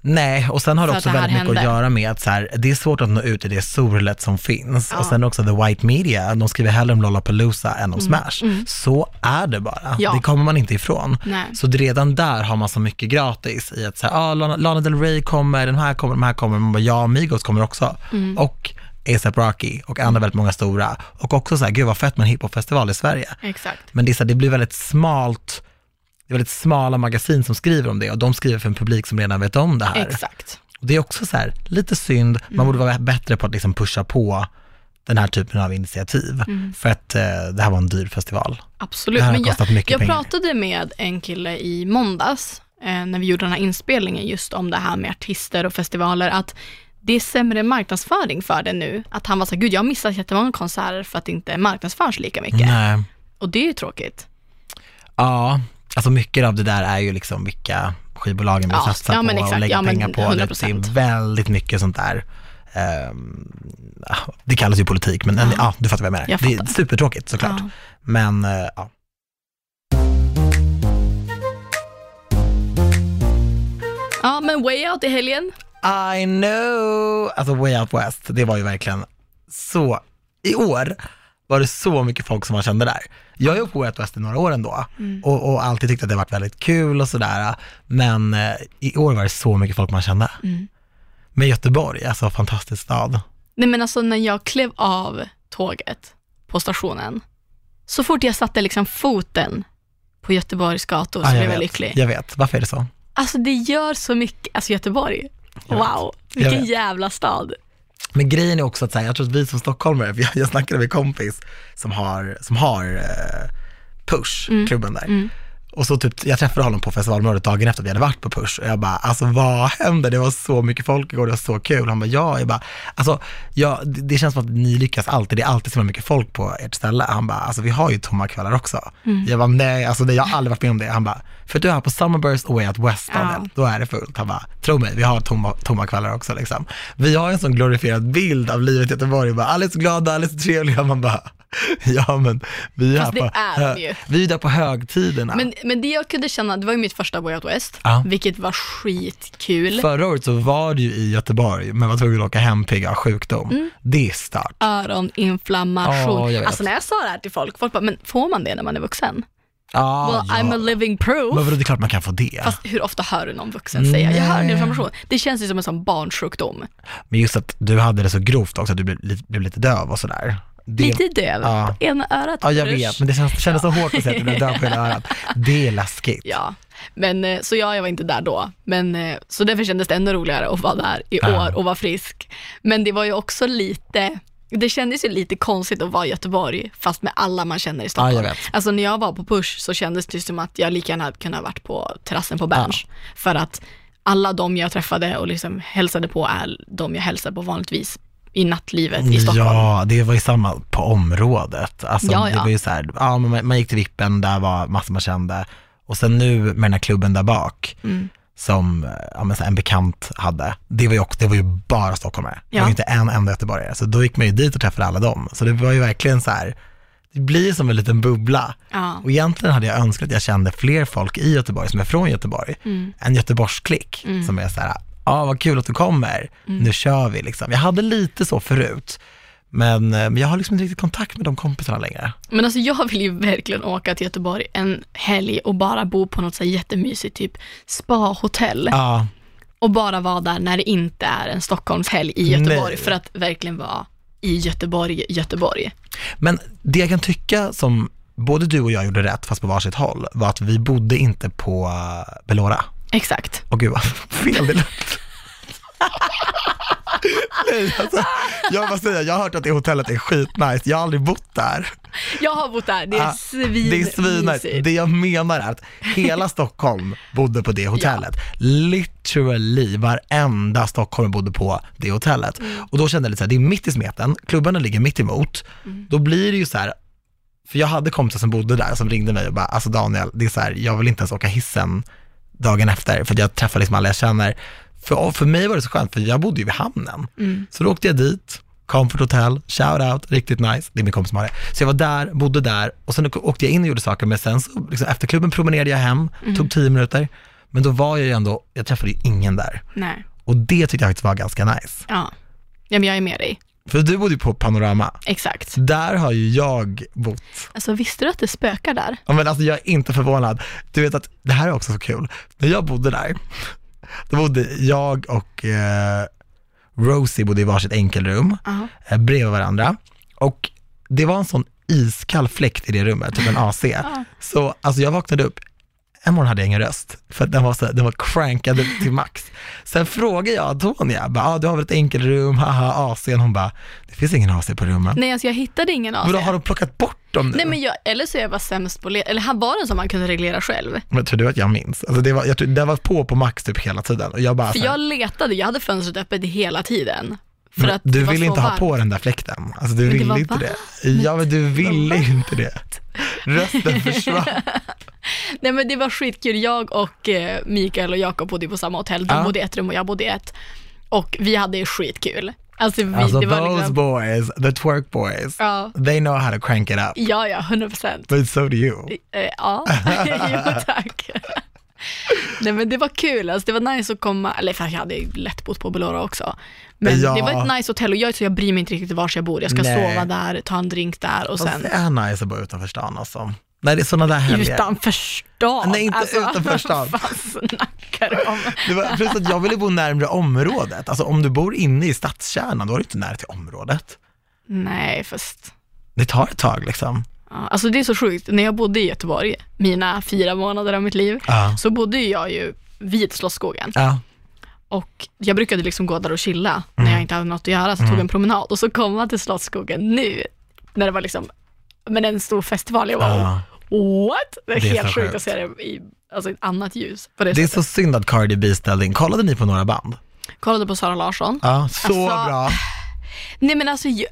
Speaker 1: Nej, och sen har det
Speaker 2: För
Speaker 1: också
Speaker 2: att det här
Speaker 1: väldigt mycket att
Speaker 2: hände.
Speaker 1: göra med att så här, det är svårt att nå ut i det sorlet som finns.
Speaker 2: Ja. Mm,
Speaker 1: Och sen också the white media, de skriver hellre om Lollapalooza än om Smash. Så är det bara,
Speaker 2: Ja.
Speaker 1: det kommer man inte ifrån.
Speaker 2: Nej.
Speaker 1: Så det- redan där har man så mycket gratis i att säga, ah, Lana, Lana Del Rey kommer, den här kommer, de här kommer, man bara, ja, Amigos kommer också.
Speaker 2: Mm.
Speaker 1: Och ASAP Rocky och andra väldigt många stora. Och också så här, gud vad fett med en hiphopfestival i Sverige.
Speaker 2: Exakt.
Speaker 1: Men det, är så här, det blir väldigt smalt, det är väldigt smala magasin som skriver om det och de skriver för en publik som redan vet om det här.
Speaker 2: Exakt.
Speaker 1: Och det är också så här, lite synd, man
Speaker 2: Mm.
Speaker 1: borde vara bättre på att liksom pusha på den här typen av initiativ.
Speaker 2: Mm.
Speaker 1: För att eh, det här var en dyr festival.
Speaker 2: Absolut.
Speaker 1: Det här har
Speaker 2: Men jag,
Speaker 1: kostat mycket
Speaker 2: jag
Speaker 1: pengar.
Speaker 2: pratade med en kille i måndags, eh, när vi gjorde den här inspelningen, just om det här med artister och festivaler, att det är sämre marknadsföring för det nu. Att han var såhär, gud jag har missat jättemånga konserter för att det inte marknadsförs lika mycket.
Speaker 1: Nej.
Speaker 2: Och det är ju tråkigt.
Speaker 1: Ja, alltså mycket av det där är ju liksom vilka skivbolagen vill
Speaker 2: Ja,
Speaker 1: satsa
Speaker 2: ja, men
Speaker 1: på och
Speaker 2: exakt.
Speaker 1: lägga
Speaker 2: Ja, men
Speaker 1: pengar på. Det är
Speaker 2: 100%.
Speaker 1: väldigt mycket sånt där. Ehm, ah, det kallas ju politik, men ja, du fattar vad jag menar.
Speaker 2: Jag
Speaker 1: det är
Speaker 2: fattar.
Speaker 1: supertråkigt såklart.
Speaker 2: Ja.
Speaker 1: Men eh, ja.
Speaker 2: Ja, men Way Out i helgen.
Speaker 1: I know! Alltså Way Out West, det var ju verkligen så, i år var det så mycket folk som man kände där. Jag har ju på Way Out West i några år ändå
Speaker 2: Mm.
Speaker 1: och, och alltid tyckt att det har varit väldigt kul och sådär. Men eh, i år var det så mycket folk man kände.
Speaker 2: Mm.
Speaker 1: Men Göteborg, alltså fantastisk stad.
Speaker 2: Nej men alltså när jag klev av tåget på stationen, så fort jag satte liksom foten på Göteborgs gator så
Speaker 1: Ja,
Speaker 2: blev jag
Speaker 1: vet,
Speaker 2: lycklig.
Speaker 1: Jag vet, varför är det så?
Speaker 2: Alltså det gör så mycket, alltså Göteborg,
Speaker 1: Jag vet.
Speaker 2: wow, vilken
Speaker 1: vet.
Speaker 2: jävla stad.
Speaker 1: Men grejen är också att så här, jag tror att vi som stockholmare, för jag, jag snackade med en kompis som har, som har eh, Push, klubben där. Och så typ, jag träffade honom på festivalområdet dagen efter att vi hade varit på Push och jag bara, alltså vad händer? Det var så mycket folk igår, det var så kul. Han bara, ja, jag bara, alltså ja, det, det känns som att ni lyckas alltid, det är alltid så mycket folk på ert ställe. Han bara, alltså vi har ju tomma kvällar också. Jag bara, nej, alltså det, jag har aldrig varit med om det. Han bara, för du är här på Summerburst och Way Out West, Daniel,
Speaker 2: Ja.
Speaker 1: då är det fullt. Han bara, tro mig, vi har tomma, tomma kvällar också liksom. Vi har en sån glorifierad bild av livet i Göteborg, bara, alla är så glada, alla är så trevliga. Man bara, ja men vi är, här
Speaker 2: Fast det
Speaker 1: på,
Speaker 2: är de ju.
Speaker 1: vi är där på högtiderna.
Speaker 2: Men, men det jag kunde känna, det var ju mitt första Way Out West,
Speaker 1: Ja.
Speaker 2: vilket var skitkul.
Speaker 1: Förra året så var du ju i Göteborg, men var tvungen att åka hem pigg av sjukdom.
Speaker 2: Mm.
Speaker 1: Det är start.
Speaker 2: Öroninflammation.
Speaker 1: Ja, jag vet.
Speaker 2: alltså när jag sa det här till folk, folk bara, men får man det när man är vuxen?
Speaker 1: Ah,
Speaker 2: well, I'm a living proof.
Speaker 1: Men vadå, det är klart man kan få det.
Speaker 2: Fast hur ofta hör du någon vuxen säga, jag hör
Speaker 1: Nej.
Speaker 2: din inflammation. Det känns ju som en sån barnsjukdom.
Speaker 1: Men just att du hade det så grovt också, att du blev, li- blev lite döv och sådär. Det...
Speaker 2: Lite döv,
Speaker 1: Ja.
Speaker 2: på ena örat.
Speaker 1: Ja, jag
Speaker 2: Usch.
Speaker 1: vet, men det känns, kändes så hårt att säga att du blev döv på hela örat. Det är läskigt.
Speaker 2: Ja, men eh, så ja, jag var inte där då. Men, eh, så därför kändes det ännu roligare att vara där i
Speaker 1: Ja.
Speaker 2: år och vara frisk. Men det var ju också lite, det kändes ju lite konstigt att vara i Göteborg fast med alla man känner i
Speaker 1: Ja, jag
Speaker 2: Stockholm.
Speaker 1: vet.
Speaker 2: alltså när jag var på Push så kändes det ju som att jag lika gärna hade kunnat varit på terrassen på Berns. För att alla de jag träffade och liksom hälsade på är de jag hälsar på vanligtvis i nattlivet i Stockholm.
Speaker 1: Ja, det var ju samma på området. Alltså,
Speaker 2: Ja,
Speaker 1: Det
Speaker 2: ja.
Speaker 1: var ju så här, ja, men man, man gick till vippen, där var massor man kände. Och sen nu med den här klubben där bak,
Speaker 2: Mm.
Speaker 1: som ja, men så här, en bekant hade, det var ju, också, det var ju bara stockholmare. Det
Speaker 2: Ja.
Speaker 1: var ju inte en enda göteborgare. Så då gick man ju dit och träffade alla dem. Så det var ju verkligen så här, det blir som en liten bubbla.
Speaker 2: Ja.
Speaker 1: Och egentligen hade jag önskat att jag kände fler folk i Göteborg som är från Göteborg, än Göteborgsklick som är så här, ja ah, vad kul att du kommer, nu kör vi liksom. Jag hade lite så förut, men, eh, men jag har liksom inte riktigt kontakt med de kompisarna längre.
Speaker 2: Men alltså jag vill ju verkligen åka till Göteborg en helg och bara bo på något så här jättemysigt typ spa-hotell
Speaker 1: Ja,
Speaker 2: och bara vara där när det inte är en Stockholmshelg i Göteborg
Speaker 1: Nej.
Speaker 2: för att verkligen vara i Göteborg, Göteborg.
Speaker 1: men det jag kan tycka som både du och jag gjorde rätt, fast på varsitt håll, var att vi bodde inte på eh, Belora.
Speaker 2: Exakt.
Speaker 1: Åh gud vad fel det lät. Nej, alltså, jag vill bara säga, jag har hört att det hotellet är skitnice, jag har aldrig bott där.
Speaker 2: Jag har bott där, det är
Speaker 1: Ah, Det är svinnice.
Speaker 2: svinmysigt.
Speaker 1: Det jag menar är att hela Stockholm bodde på det hotellet. Literally varenda stockholmare bodde på det hotellet. Och då kände jag lite så här, det är mitt i smeten, klubbarna ligger mitt emot. Då blir det ju så här, för jag hade kompisar som bodde där som ringde mig och bara, alltså Daniel, det är så här, jag vill inte ens åka hissen dagen efter, för att jag träffar liksom alla jag känner. För, och för mig var det så skönt, för jag bodde ju vid hamnen. Så då åkte jag dit, Comfort Hotel, shout out, riktigt nice, det är min kompis som har det. Så jag var där, bodde där och sen åkte jag in och gjorde saker, men sen så, liksom, efter klubben promenerade jag hem, tog tio minuter, men då var jag ju ändå, jag träffade ju ingen där.
Speaker 2: Nej,
Speaker 1: Och det tyckte jag faktiskt var ganska nice.
Speaker 2: ja. ja men jag är med dig.
Speaker 1: För du bodde ju på Panorama,
Speaker 2: Exakt.
Speaker 1: där har ju jag bott.
Speaker 2: Alltså visste du att det spökar där?
Speaker 1: Ja, men alltså jag är inte förvånad. Du vet att, det här är också så kul. När jag bodde där, då bodde jag och eh, Rosie bodde i varsitt enkelrum
Speaker 2: Ja.
Speaker 1: eh, bredvid varandra. Och det var en sån iskall fläkt i det rummet, typ en AC. Så alltså jag vaknade upp, en morgon hade jag ingen röst, för att den var, så, den var crankad upp till max. Sen frågade jag Antonia, bara, ah, du har väl ett enkelrum, haha, AC'n. Hon bara, det finns ingen AC på rummen.
Speaker 2: Nej, alltså jag hittade ingen av
Speaker 1: Men då
Speaker 2: det.
Speaker 1: har de plockat bort dem nu?
Speaker 2: Nej, men jag, eller så är jag bara sämst på le- Eller han var den som man kunde reglera själv.
Speaker 1: Men tror du att jag minns? Alltså det var, jag tror, det var på på max typ hela tiden och jag bara
Speaker 2: För
Speaker 1: så här,
Speaker 2: jag letade, jag hade fönstret öppet hela tiden. För
Speaker 1: men
Speaker 2: att det
Speaker 1: du
Speaker 2: var
Speaker 1: ville
Speaker 2: så
Speaker 1: inte ha
Speaker 2: varmt.
Speaker 1: på den där fläkten. Alltså du
Speaker 2: det
Speaker 1: ville
Speaker 2: var
Speaker 1: inte
Speaker 2: varmt.
Speaker 1: det. Ja men du ville inte det. Rösten försvann.
Speaker 2: Nej men det var skitkul, jag och eh, Mikael och Jakob bodde på samma hotell. De
Speaker 1: Ja.
Speaker 2: bodde i ett rum och jag bodde i ett. Och vi hade skitkul. Alltså, vi,
Speaker 1: Alltså
Speaker 2: det var
Speaker 1: those
Speaker 2: liksom,
Speaker 1: boys, the twerk boys,
Speaker 2: ja,
Speaker 1: they know how to crank it up.
Speaker 2: ja, ja, 100 procent.
Speaker 1: But so do you.
Speaker 2: Eh, ja, jo tack. Nej men det var kul, alltså, det var nice att komma, eller fan, jag hade ju lätt bott på Belora också. Men
Speaker 1: Ja.
Speaker 2: det var ett nice hotell och jag, så jag bryr mig inte riktigt var jag bor. Jag ska
Speaker 1: Nej.
Speaker 2: sova där, ta en drink där och
Speaker 1: Fast
Speaker 2: sen
Speaker 1: det är nice att bo utanför stan alltså. Nej det är sådana där helger.
Speaker 2: utanför stan. Alltså,
Speaker 1: Nej, inte utanför stan.
Speaker 2: Vad fan snackar du om?
Speaker 1: Det var, plus att jag ville bo närmre området. Alltså om du bor inne i stadskärnan, då är du inte nära till området.
Speaker 2: Nej, fast
Speaker 1: Det tar ett tag liksom.
Speaker 2: Ja, Alltså det är så sjukt, när jag bodde i Göteborg, mina fyra månader av mitt liv,
Speaker 1: Ja.
Speaker 2: så bodde ju jag ju vid Slottsskogen
Speaker 1: Ja.
Speaker 2: och jag brukade liksom gå där och chilla
Speaker 1: Mm.
Speaker 2: när jag inte hade något att göra, så tog jag en promenad och så kom man till Slottsskogen nu, när det var liksom, men en stor festival jag var
Speaker 1: Ja.
Speaker 2: what? Det är,
Speaker 1: Det är
Speaker 2: helt
Speaker 1: så
Speaker 2: sjukt
Speaker 1: sjukt.
Speaker 2: att se det i alltså, ett annat ljus. På det
Speaker 1: Det är
Speaker 2: sättet.
Speaker 1: så synd att Cardi B ställde in. Kollade ni på några band?
Speaker 2: Kollade på Sara Larsson.
Speaker 1: Ja, så
Speaker 2: Alltså,
Speaker 1: bra.
Speaker 2: Nej men alltså, ju-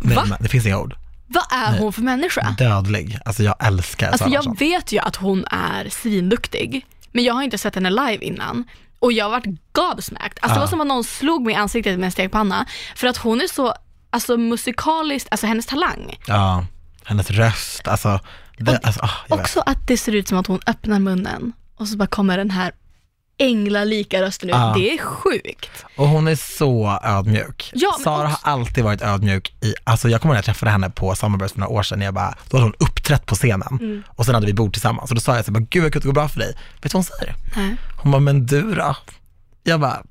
Speaker 1: Nej,
Speaker 2: va?
Speaker 1: men det finns inga ord.
Speaker 2: vad är hon för människa?
Speaker 1: Dödlig. Alltså jag älskar
Speaker 2: Alltså
Speaker 1: Sara Larsson.
Speaker 2: jag vet ju att hon är svinduktig, men jag har inte sett henne live innan. Och jag har varit gobsmacked. Alltså det var
Speaker 1: Ah.
Speaker 2: som att någon slog mig i ansiktet med en stekpanna. För att hon är så, alltså musikaliskt, alltså hennes talang.
Speaker 1: Ja, hennes röst, alltså. Det, alltså ah, jag vet.
Speaker 2: Också att det ser ut som att hon öppnar munnen och så bara kommer den här änglalika rösten ut.
Speaker 1: Ah.
Speaker 2: Det är sjukt.
Speaker 1: Och hon är så ödmjuk.
Speaker 2: Ja, men
Speaker 1: Sara
Speaker 2: också-
Speaker 1: har alltid varit ödmjuk. I, alltså jag kommer ihåg när jag träffade henne på Summerburst för några år sedan. Jag bara, då hade hon uppträtt på scenen
Speaker 2: Mm.
Speaker 1: och sen hade vi bord tillsammans. Och då sa jag så här, bara, gud vad kul att det går bra för dig. Vet du vad hon säger?
Speaker 2: Nej.
Speaker 1: Hon bara, men du då? Jag bara,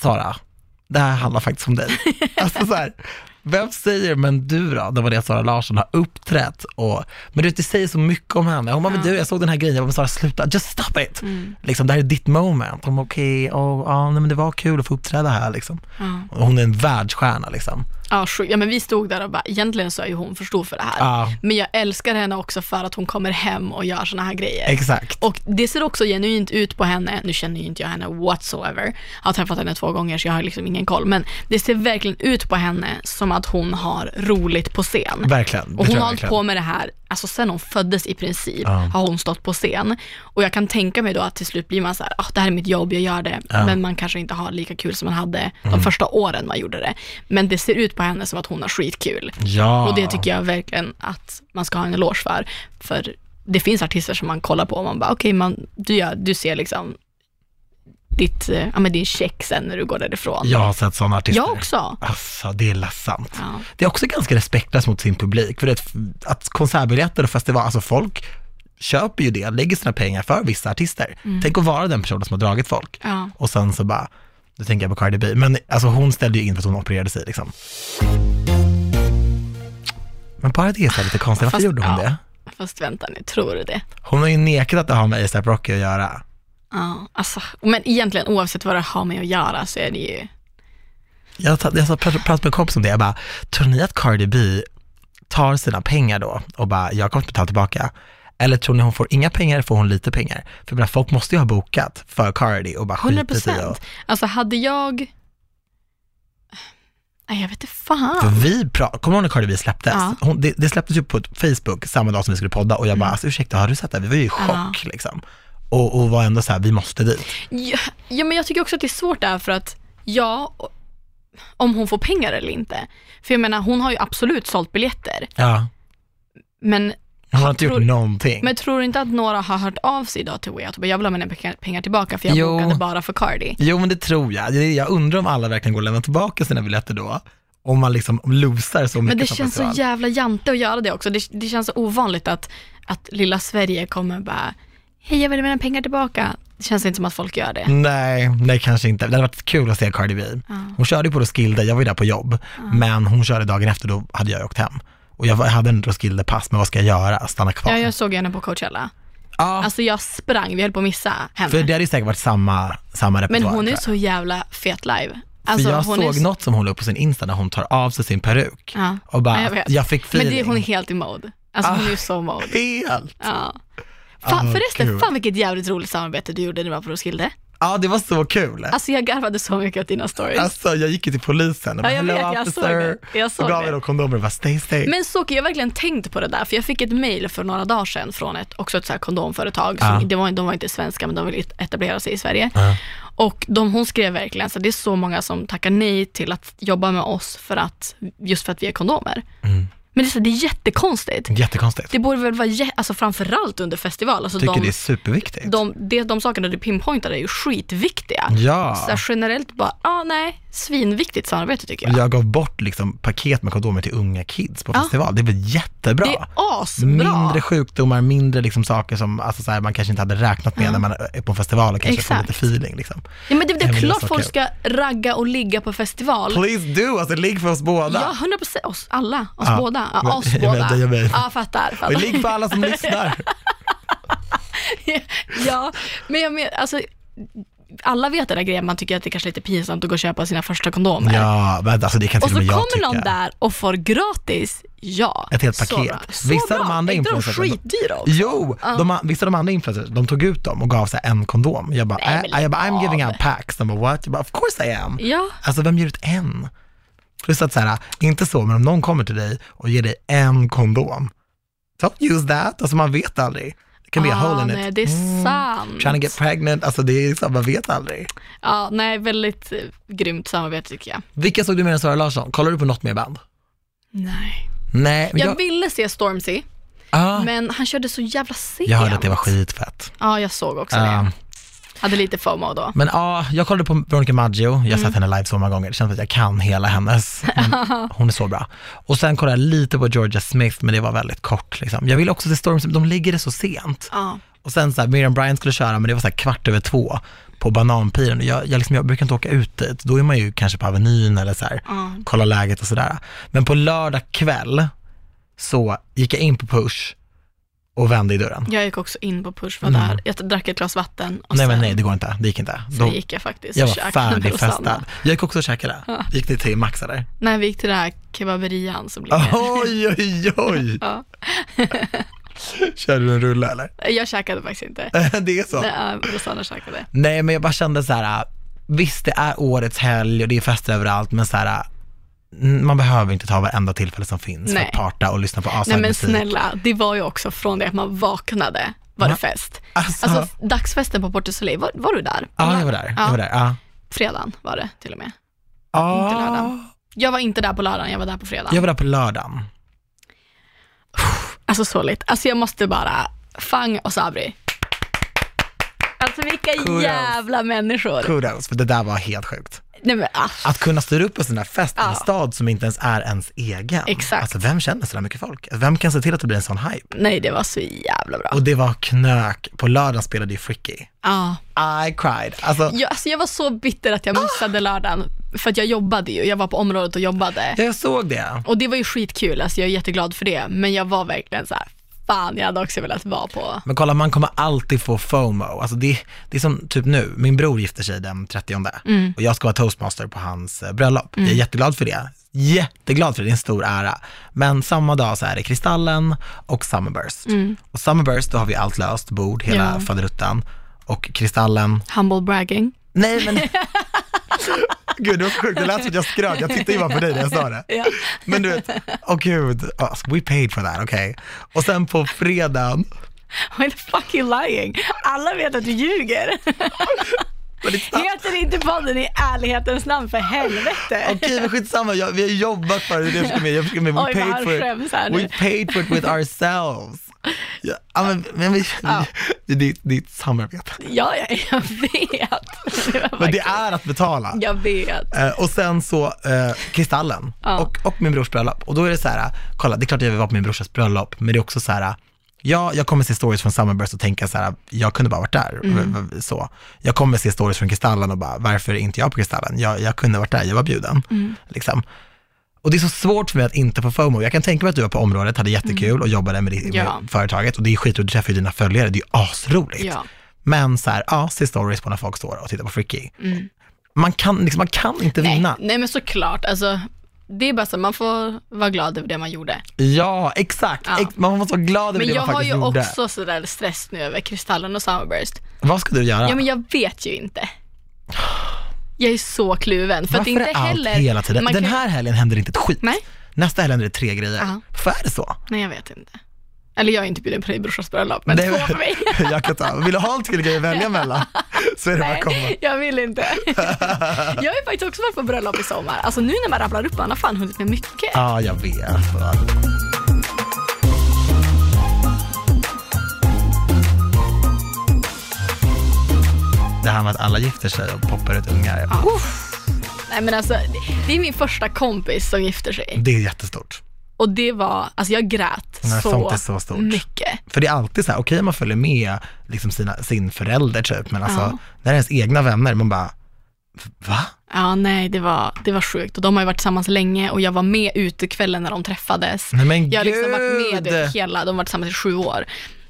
Speaker 1: Sara, det här handlar faktiskt om dig. alltså så här, vem säger men du då? Det var det Sara Larsson har uppträtt och, men du vet, det säger så mycket om henne. Hon bara, men du jag såg den här grejen, jag bara, men Sara sluta, just stop it.
Speaker 2: Mm.
Speaker 1: Liksom, det här är ditt moment. Hon bara, okej, åh, ja, nej men det var kul att få uppträda här liksom.
Speaker 2: Ja.
Speaker 1: Och Hon är en världsstjärna liksom.
Speaker 2: Ja, sjukt. ja men vi stod där och bara, egentligen så är ju hon för stor för det här.
Speaker 1: Ja,
Speaker 2: Men jag älskar henne också för att hon kommer hem och gör såna här grejer.
Speaker 1: exakt.
Speaker 2: Och det ser också genuint ut på henne, nu känner ju inte jag henne whatsoever, jag har träffat henne två gånger så jag har liksom ingen koll, men det ser verkligen ut på henne som att hon har roligt på scen.
Speaker 1: Verkligen. det
Speaker 2: Och
Speaker 1: tror
Speaker 2: hon
Speaker 1: jag
Speaker 2: har hållit
Speaker 1: verkligen.
Speaker 2: på med det här, alltså sen hon föddes i princip,
Speaker 1: Ja.
Speaker 2: har hon stått på scen. Och jag kan tänka mig då att till slut blir man så här, ah, det här är mitt jobb, jag gör det.
Speaker 1: Ja. Mm.
Speaker 2: Men man kanske inte har lika kul som man hade de första åren man gjorde det. Men det ser ut på henne som att hon har skitkul.
Speaker 1: Ja.
Speaker 2: Och det tycker jag verkligen att man ska ha en eloge för. För det finns artister som man kollar på och man bara, okej, man- du, gör- du ser liksom ditt, eh, ja men din check sen när du går därifrån.
Speaker 1: jag har sett sådana artister.
Speaker 2: Jag också.
Speaker 1: Alltså, det är ledsamt.
Speaker 2: Ja.
Speaker 1: Det är också ganska respektlöst mot sin publik, för det, att konsertbiljetter och festival, alltså folk köper ju det, lägger sina pengar för vissa artister.
Speaker 2: Mm.
Speaker 1: Tänk att vara den personen som har dragit folk.
Speaker 2: Ja.
Speaker 1: Och sen så bara, nu tänker jag på Cardi B, men alltså hon ställde ju in för att hon opererade sig liksom. Men bara det är så här lite konstigt, varför
Speaker 2: Fast-
Speaker 1: gjorde hon
Speaker 2: ja.
Speaker 1: det?
Speaker 2: Fast vänta nu, tror du det?
Speaker 1: Hon har ju nekat att det har med ASAP Rocky att göra.
Speaker 2: Ja, alltså, men egentligen oavsett vad det har med att göra så är det ju,
Speaker 1: Jag, ta- jag sa- pratade pratade med en kompis om det, jag bara, tror ni att Cardi B tar sina pengar då och bara, jag kommer inte betala tillbaka? Eller tror ni hon får inga pengar, får hon lite pengar? För jag menar, folk måste ju ha bokat för Cardi och bara skitit i
Speaker 2: 100%.
Speaker 1: och,
Speaker 2: Alltså hade jag, nej jag vet inte
Speaker 1: för
Speaker 2: fan.
Speaker 1: vi pra- Kommer du ihåg när Cardi B släpptes?
Speaker 2: Ja. Mm.
Speaker 1: Hon, det, det släpptes ju på Facebook samma dag som vi skulle podda och jag bara, alltså ursäkta, har du sett det? här?" Vi var ju i chock liksom. Och, och var ändå så här, vi måste dit.
Speaker 2: Ja, ja, men jag tycker också att det är svårt där för att, ja, om hon får pengar eller inte. För jag menar, hon har ju absolut sålt biljetter,
Speaker 1: Ja.
Speaker 2: men,
Speaker 1: Hon har inte
Speaker 2: Tror-
Speaker 1: gjort någonting.
Speaker 2: men tror du inte att några har hört av sig idag till Way Out och bara, jag vill ha mina pe- pengar tillbaka för jag
Speaker 1: Jo.
Speaker 2: bokade bara för Cardi.
Speaker 1: Jo, men det tror jag. Det- Jag undrar om alla verkligen går och lämnar tillbaka sina biljetter då. Om man liksom losar så mycket
Speaker 2: Men det
Speaker 1: som
Speaker 2: känns så
Speaker 1: festival.
Speaker 2: jävla jante att göra det också. Det, det känns så ovanligt att, att lilla Sverige kommer bara, hej jag vill ha mina pengar tillbaka. Det känns inte som att folk gör det.
Speaker 1: Nej, nej kanske inte. Det hade varit kul att se Cardi B. Hon körde ju på Roskilde, jag var ju där på jobb, men hon körde dagen efter, då hade jag åkt hem. Och jag var- hade en Roskilde-pass, men vad ska jag göra? Stanna kvar?
Speaker 2: Ja, jag såg henne på Coachella.
Speaker 1: Ja,
Speaker 2: Alltså jag sprang, vi höll på att missa henne.
Speaker 1: för det hade ju säkert varit samma, samma repertoar.
Speaker 2: Men hon
Speaker 1: tror
Speaker 2: är
Speaker 1: jag.
Speaker 2: så jävla fet live. Alltså,
Speaker 1: för jag
Speaker 2: hon är
Speaker 1: såg
Speaker 2: så-
Speaker 1: något som hon la upp på sin Insta när hon tar av sig sin peruk.
Speaker 2: Ja.
Speaker 1: Och bara,
Speaker 2: Ja, jag
Speaker 1: jag,
Speaker 2: vet.
Speaker 1: fick
Speaker 2: Men
Speaker 1: feeling.
Speaker 2: det, hon är helt i mode. Alltså hon är ju så mode.
Speaker 1: Helt!
Speaker 2: Ja. Fan,
Speaker 1: Ah,
Speaker 2: förresten,
Speaker 1: gud.
Speaker 2: fan vilket jävligt roligt samarbete du gjorde när du var på Roskilde.
Speaker 1: Ja, det var så kul.
Speaker 2: Alltså jag garvade så mycket åt dina stories.
Speaker 1: Alltså jag gick ju till polisen och bara,
Speaker 2: Ja, jag
Speaker 1: hello
Speaker 2: vet, jag
Speaker 1: officer.
Speaker 2: såg det. Jag såg
Speaker 1: gav
Speaker 2: det.
Speaker 1: mig då kondomer och bara stay safe.
Speaker 2: Men så jag har verkligen tänkt på det där, för jag fick ett mail för några dagar sedan från ett, också ett så här kondomföretag.
Speaker 1: Ja.
Speaker 2: Som, det var, de var inte svenska, men de vill etablera sig i Sverige.
Speaker 1: Ja.
Speaker 2: Och de, hon skrev verkligen så här, det är så många som tackar nej till att jobba med oss för att, just för att vi är kondomer.
Speaker 1: Mm.
Speaker 2: Men det är, så, här, det är jättekonstigt.
Speaker 1: Jättekonstigt.
Speaker 2: Det borde väl vara, jä- alltså framförallt under festival, alltså
Speaker 1: Tycker
Speaker 2: de,
Speaker 1: det är superviktigt.
Speaker 2: de, de, de sakerna du pinpointar är ju skitviktiga.
Speaker 1: ja.
Speaker 2: Så här, generellt bara, ja ah, nej, svinviktigt samarbete tycker jag.
Speaker 1: Jag gav bort liksom paket med kondomer till unga kids på
Speaker 2: Ja.
Speaker 1: festival. Det var jättebra.
Speaker 2: Det är asbra.
Speaker 1: Mindre sjukdomar, mindre liksom saker som alltså så här, man kanske inte hade räknat med när man är på en festival och kanske får
Speaker 2: Exakt.
Speaker 1: lite feeling. Liksom.
Speaker 2: Ja, men det, det
Speaker 1: Nej,
Speaker 2: är
Speaker 1: men det är
Speaker 2: klart
Speaker 1: så
Speaker 2: folk
Speaker 1: kul.
Speaker 2: ska ragga och ligga på festival.
Speaker 1: Please do, alltså ligg för oss båda.
Speaker 2: Ja, 100 procent. Oss alla. Oss
Speaker 1: Ja,
Speaker 2: båda. Ja,
Speaker 1: men-
Speaker 2: oss
Speaker 1: jag
Speaker 2: båda.
Speaker 1: menar, jag menar.
Speaker 2: Ja, fattar.
Speaker 1: Och
Speaker 2: fattar.
Speaker 1: ligg på alla som lyssnar.
Speaker 2: ja, men jag menar, alltså, alla vet den där grejen, man tycker att det är kanske är lite pinsamt att gå och köpa sina första kondomer.
Speaker 1: ja, men alltså det kan
Speaker 2: och
Speaker 1: till
Speaker 2: så
Speaker 1: och med jag
Speaker 2: kommer
Speaker 1: tycka.
Speaker 2: någon där och får gratis. Ja,
Speaker 1: Ett helt
Speaker 2: så
Speaker 1: paket.
Speaker 2: bra. Så
Speaker 1: Vissa
Speaker 2: bra.
Speaker 1: av de andra
Speaker 2: Är inte de
Speaker 1: influencers-
Speaker 2: skitdyra också?
Speaker 1: Jo, de, a- vissa av de andra influencers, de tog ut dem och gav sig en kondom. Jag bara,
Speaker 2: Nej, men
Speaker 1: äh, jag bara I'm
Speaker 2: lägg
Speaker 1: giving
Speaker 2: av.
Speaker 1: out packs. De bara what? Jag bara of course I am.
Speaker 2: Ja,
Speaker 1: Alltså vem ger ut en? Plus att så här, inte så, men om någon kommer till dig och ger dig en kondom, don't use that. Alltså man vet aldrig. Det kan bli a hole in
Speaker 2: Ah, nej,
Speaker 1: it.
Speaker 2: det är
Speaker 1: Mm.
Speaker 2: sant.
Speaker 1: Trying to get pregnant, alltså det är så, man vet aldrig.
Speaker 2: Ja, nej, väldigt eh, grymt samarbete tycker jag.
Speaker 1: Vilka såg du mer än Sara Larsson? Kollar du på något mer band?
Speaker 2: Nej.
Speaker 1: Nej, men
Speaker 2: Jag,
Speaker 1: jag...
Speaker 2: ville se Stormzy,
Speaker 1: ah,
Speaker 2: men han körde så jävla sent.
Speaker 1: jag hörde att det var skitfett.
Speaker 2: Ja, jag såg också
Speaker 1: Um,
Speaker 2: det. Hade lite FOMO då.
Speaker 1: men ja, jag kollade på Veronica Maggio, jag har
Speaker 2: Mm.
Speaker 1: sett henne live så många gånger, det känns som att jag kan hela hennes. Men hon är så bra. Och sen kollade jag lite på Georgia Smith, men det var väldigt kort liksom. Jag ville också se Stormzy, men de ligger det så sent.
Speaker 2: Ja.
Speaker 1: Och sen så här, Miriam Bryant skulle köra, men det var så här kvart över två på Bananpiren. Jag, jag, liksom, jag brukar inte åka ut dit, då är man ju kanske på Avenyn eller så här,
Speaker 2: Ja.
Speaker 1: kolla läget och sådär. Men på lördag kväll så gick jag in på Push och vände i dörren.
Speaker 2: Jag gick också in på Push, var
Speaker 1: Mm.
Speaker 2: där. Jag drack ett glas vatten och
Speaker 1: nej
Speaker 2: sen,
Speaker 1: men nej, det går inte, det gick inte.
Speaker 2: sen
Speaker 1: Då,
Speaker 2: gick jag faktiskt
Speaker 1: jag
Speaker 2: och
Speaker 1: var
Speaker 2: käkade med
Speaker 1: färdigfestad.
Speaker 2: Rosanna.
Speaker 1: Jag gick också och käkade.
Speaker 2: Ja.
Speaker 1: Gick ni till Maxa där?
Speaker 2: Nej, vi gick till den här kebaberian som ligger.
Speaker 1: Oj, oj, oj!
Speaker 2: Ja.
Speaker 1: Körde du en rulle eller?
Speaker 2: Eh, Jag käkade faktiskt inte.
Speaker 1: det är så.
Speaker 2: Nej, ja, Rosanna käkade.
Speaker 1: Nej men jag bara kände så här, äh, visst det är årets helg och det är fest överallt men så här, äh, n- man behöver inte ta varenda tillfälle som finns
Speaker 2: Nej.
Speaker 1: för att parta och lyssna på
Speaker 2: Nej
Speaker 1: asad
Speaker 2: men
Speaker 1: musik.
Speaker 2: snälla, det var ju också från det att man vaknade var det fest.
Speaker 1: Alltså,
Speaker 2: Alltså f- dagsfesten på Porto Soleil, var, var du där?
Speaker 1: ja jag var där, jag var där. Ja.
Speaker 2: Fredagen var det till och med. Inte
Speaker 1: Ah,
Speaker 2: lördagen. Jag var inte där på lördagen, jag var där på fredagen.
Speaker 1: jag var där på lördagen.
Speaker 2: Alltså så lite. Alltså jag måste bara, Fang och Sabri. Alltså vilka
Speaker 1: Kudos.
Speaker 2: jävla människor.
Speaker 1: Kudos, för det där var helt sjukt.
Speaker 2: Nej men ah, ass.
Speaker 1: Att kunna styra upp en sån här fest i en
Speaker 2: Ja.
Speaker 1: stad som inte ens är ens egen.
Speaker 2: Exakt.
Speaker 1: Alltså vem känner så där mycket folk? Alltså, Vem kan se till att det blir en sån hype?
Speaker 2: Nej det var så jävla bra.
Speaker 1: Och det var knök, på lördagen spelade ju Fricky.
Speaker 2: Ja.
Speaker 1: I cried. Alltså,
Speaker 2: Jag, alltså jag var så bitter att jag missade lördagen, för att jag jobbade ju. Jag var på området och jobbade.
Speaker 1: jag såg det.
Speaker 2: Och det var ju skitkul, alltså jag är jätteglad för det, men jag var verkligen så här, fan jag hade också velat vara på.
Speaker 1: Men kolla, man kommer alltid få FOMO. Alltså det, det är som typ nu, min bror gifter sig den 30 och jag ska vara toastmaster på hans eh, bröllop. Jag är jätteglad för det. Jätteglad för det, det är en stor ära. Men samma dag så är det Kristallen och Summerburst. Och Summerburst, då har vi allt löst, bord, hela
Speaker 2: Ja.
Speaker 1: faderuttan. Och Kristallen,
Speaker 2: Humble bragging.
Speaker 1: nej men... Gud, det var så sjukt, det lät som att jag skröt. Jag tittade ju bara på dig när jag sa det.
Speaker 2: Ja.
Speaker 1: Men du vet, åh gud, alltså, we paid for that, okej. Och sen på fredagen,
Speaker 2: I'm fucking lying. Alla vet att du ljuger.
Speaker 1: på ditt sta-
Speaker 2: Heter inte podden i ärlighetens namn för helvete?
Speaker 1: Okej men skitsamma, jag, vi har jobbat för det, det jag försöker med, jag försöker med, we
Speaker 2: Oj, vad
Speaker 1: paid
Speaker 2: han
Speaker 1: for
Speaker 2: skäms
Speaker 1: it,
Speaker 2: här nu.
Speaker 1: we paid for it with ourselves. Ja, ja, men, men vi,
Speaker 2: Ja.
Speaker 1: vi, det, det är ett samarbete.
Speaker 2: Ja, ja, jag vet. Det var
Speaker 1: Men det
Speaker 2: faktiskt-
Speaker 1: är att betala.
Speaker 2: Jag vet.
Speaker 1: Eh, och sen så eh, Kristallen
Speaker 2: Ja.
Speaker 1: och, och min brors bröllop. Och då är det så här, kolla det är klart jag vill vara på min brorsas bröllop, men det är också så här, ja, jag kommer se stories från Summerburst och tänka så här, jag kunde bara varit där.
Speaker 2: Mm.
Speaker 1: V- v- Så. Jag kommer se stories från Kristallen och bara, varför är inte jag på Kristallen? Jag, jag kunde varit där, jag var bjuden.
Speaker 2: Mm.
Speaker 1: Liksom. Och det är så svårt för mig att inte få FOMO. Jag kan tänka mig att du var på området, hade jättekul och jobbade med, ditt,
Speaker 2: Mm. Ja.
Speaker 1: med företaget och det är skitroligt, du träffar ju dina följare, det är ju asroligt.
Speaker 2: Ja.
Speaker 1: Men så här, ja, se stories på när folk står och tittar på Freaky. Man, kan, liksom, man kan inte vinna.
Speaker 2: Nej, men såklart. Alltså, det är bara så, man får vara glad över det man gjorde.
Speaker 1: Ja, exakt.
Speaker 2: Ja.
Speaker 1: Ex- man måste vara glad över
Speaker 2: Men
Speaker 1: det
Speaker 2: jag
Speaker 1: man
Speaker 2: har
Speaker 1: faktiskt
Speaker 2: ju
Speaker 1: gjorde.
Speaker 2: också sådär stress nu över Kristallen och Summerburst.
Speaker 1: Vad ska du göra?
Speaker 2: Ja, men jag vet ju inte. Jag är så kluven. För att
Speaker 1: Varför
Speaker 2: det inte
Speaker 1: är allt
Speaker 2: heller,
Speaker 1: hela tiden?
Speaker 2: man
Speaker 1: Den
Speaker 2: kan-
Speaker 1: här helgen händer inte ett skit.
Speaker 2: Nej.
Speaker 1: Nästa helg händer det tre grejer.
Speaker 2: Ja.
Speaker 1: Varför är det så?
Speaker 2: Nej, jag vet inte. Eller jag är inte bjuden på din brorsas bröllop, men
Speaker 1: Nej,
Speaker 2: två för mig.
Speaker 1: jag kan ta. Vill du ha en till grej att välja mellan så är det bara att komma.
Speaker 2: Nej, jag vill inte. jag har ju faktiskt också varit på bröllop i sommar. Alltså nu när man rabblar upp, man har fan hunnit med mycket.
Speaker 1: Ja, jag vet. Det här med att alla gifter sig och poppar ut ungar,
Speaker 2: Uff. Nej men alltså, det- det är min första kompis som gifter sig.
Speaker 1: det är jättestort.
Speaker 2: Och det var, alltså jag grät
Speaker 1: Nej, sånt är
Speaker 2: så,
Speaker 1: så stort.
Speaker 2: mycket.
Speaker 1: För det är alltid så här, okej man följer med liksom sina, sin förälder typ, men alltså
Speaker 2: Ja.
Speaker 1: när det är ens egna vänner, man bara, va?
Speaker 2: Ja nej, det var, det var sjukt. Och de har ju varit tillsammans länge och jag var med ute kvällen när de träffades.
Speaker 1: Nej men
Speaker 2: Jag har
Speaker 1: gud!
Speaker 2: liksom varit med vet, hela, de har varit tillsammans i sju år.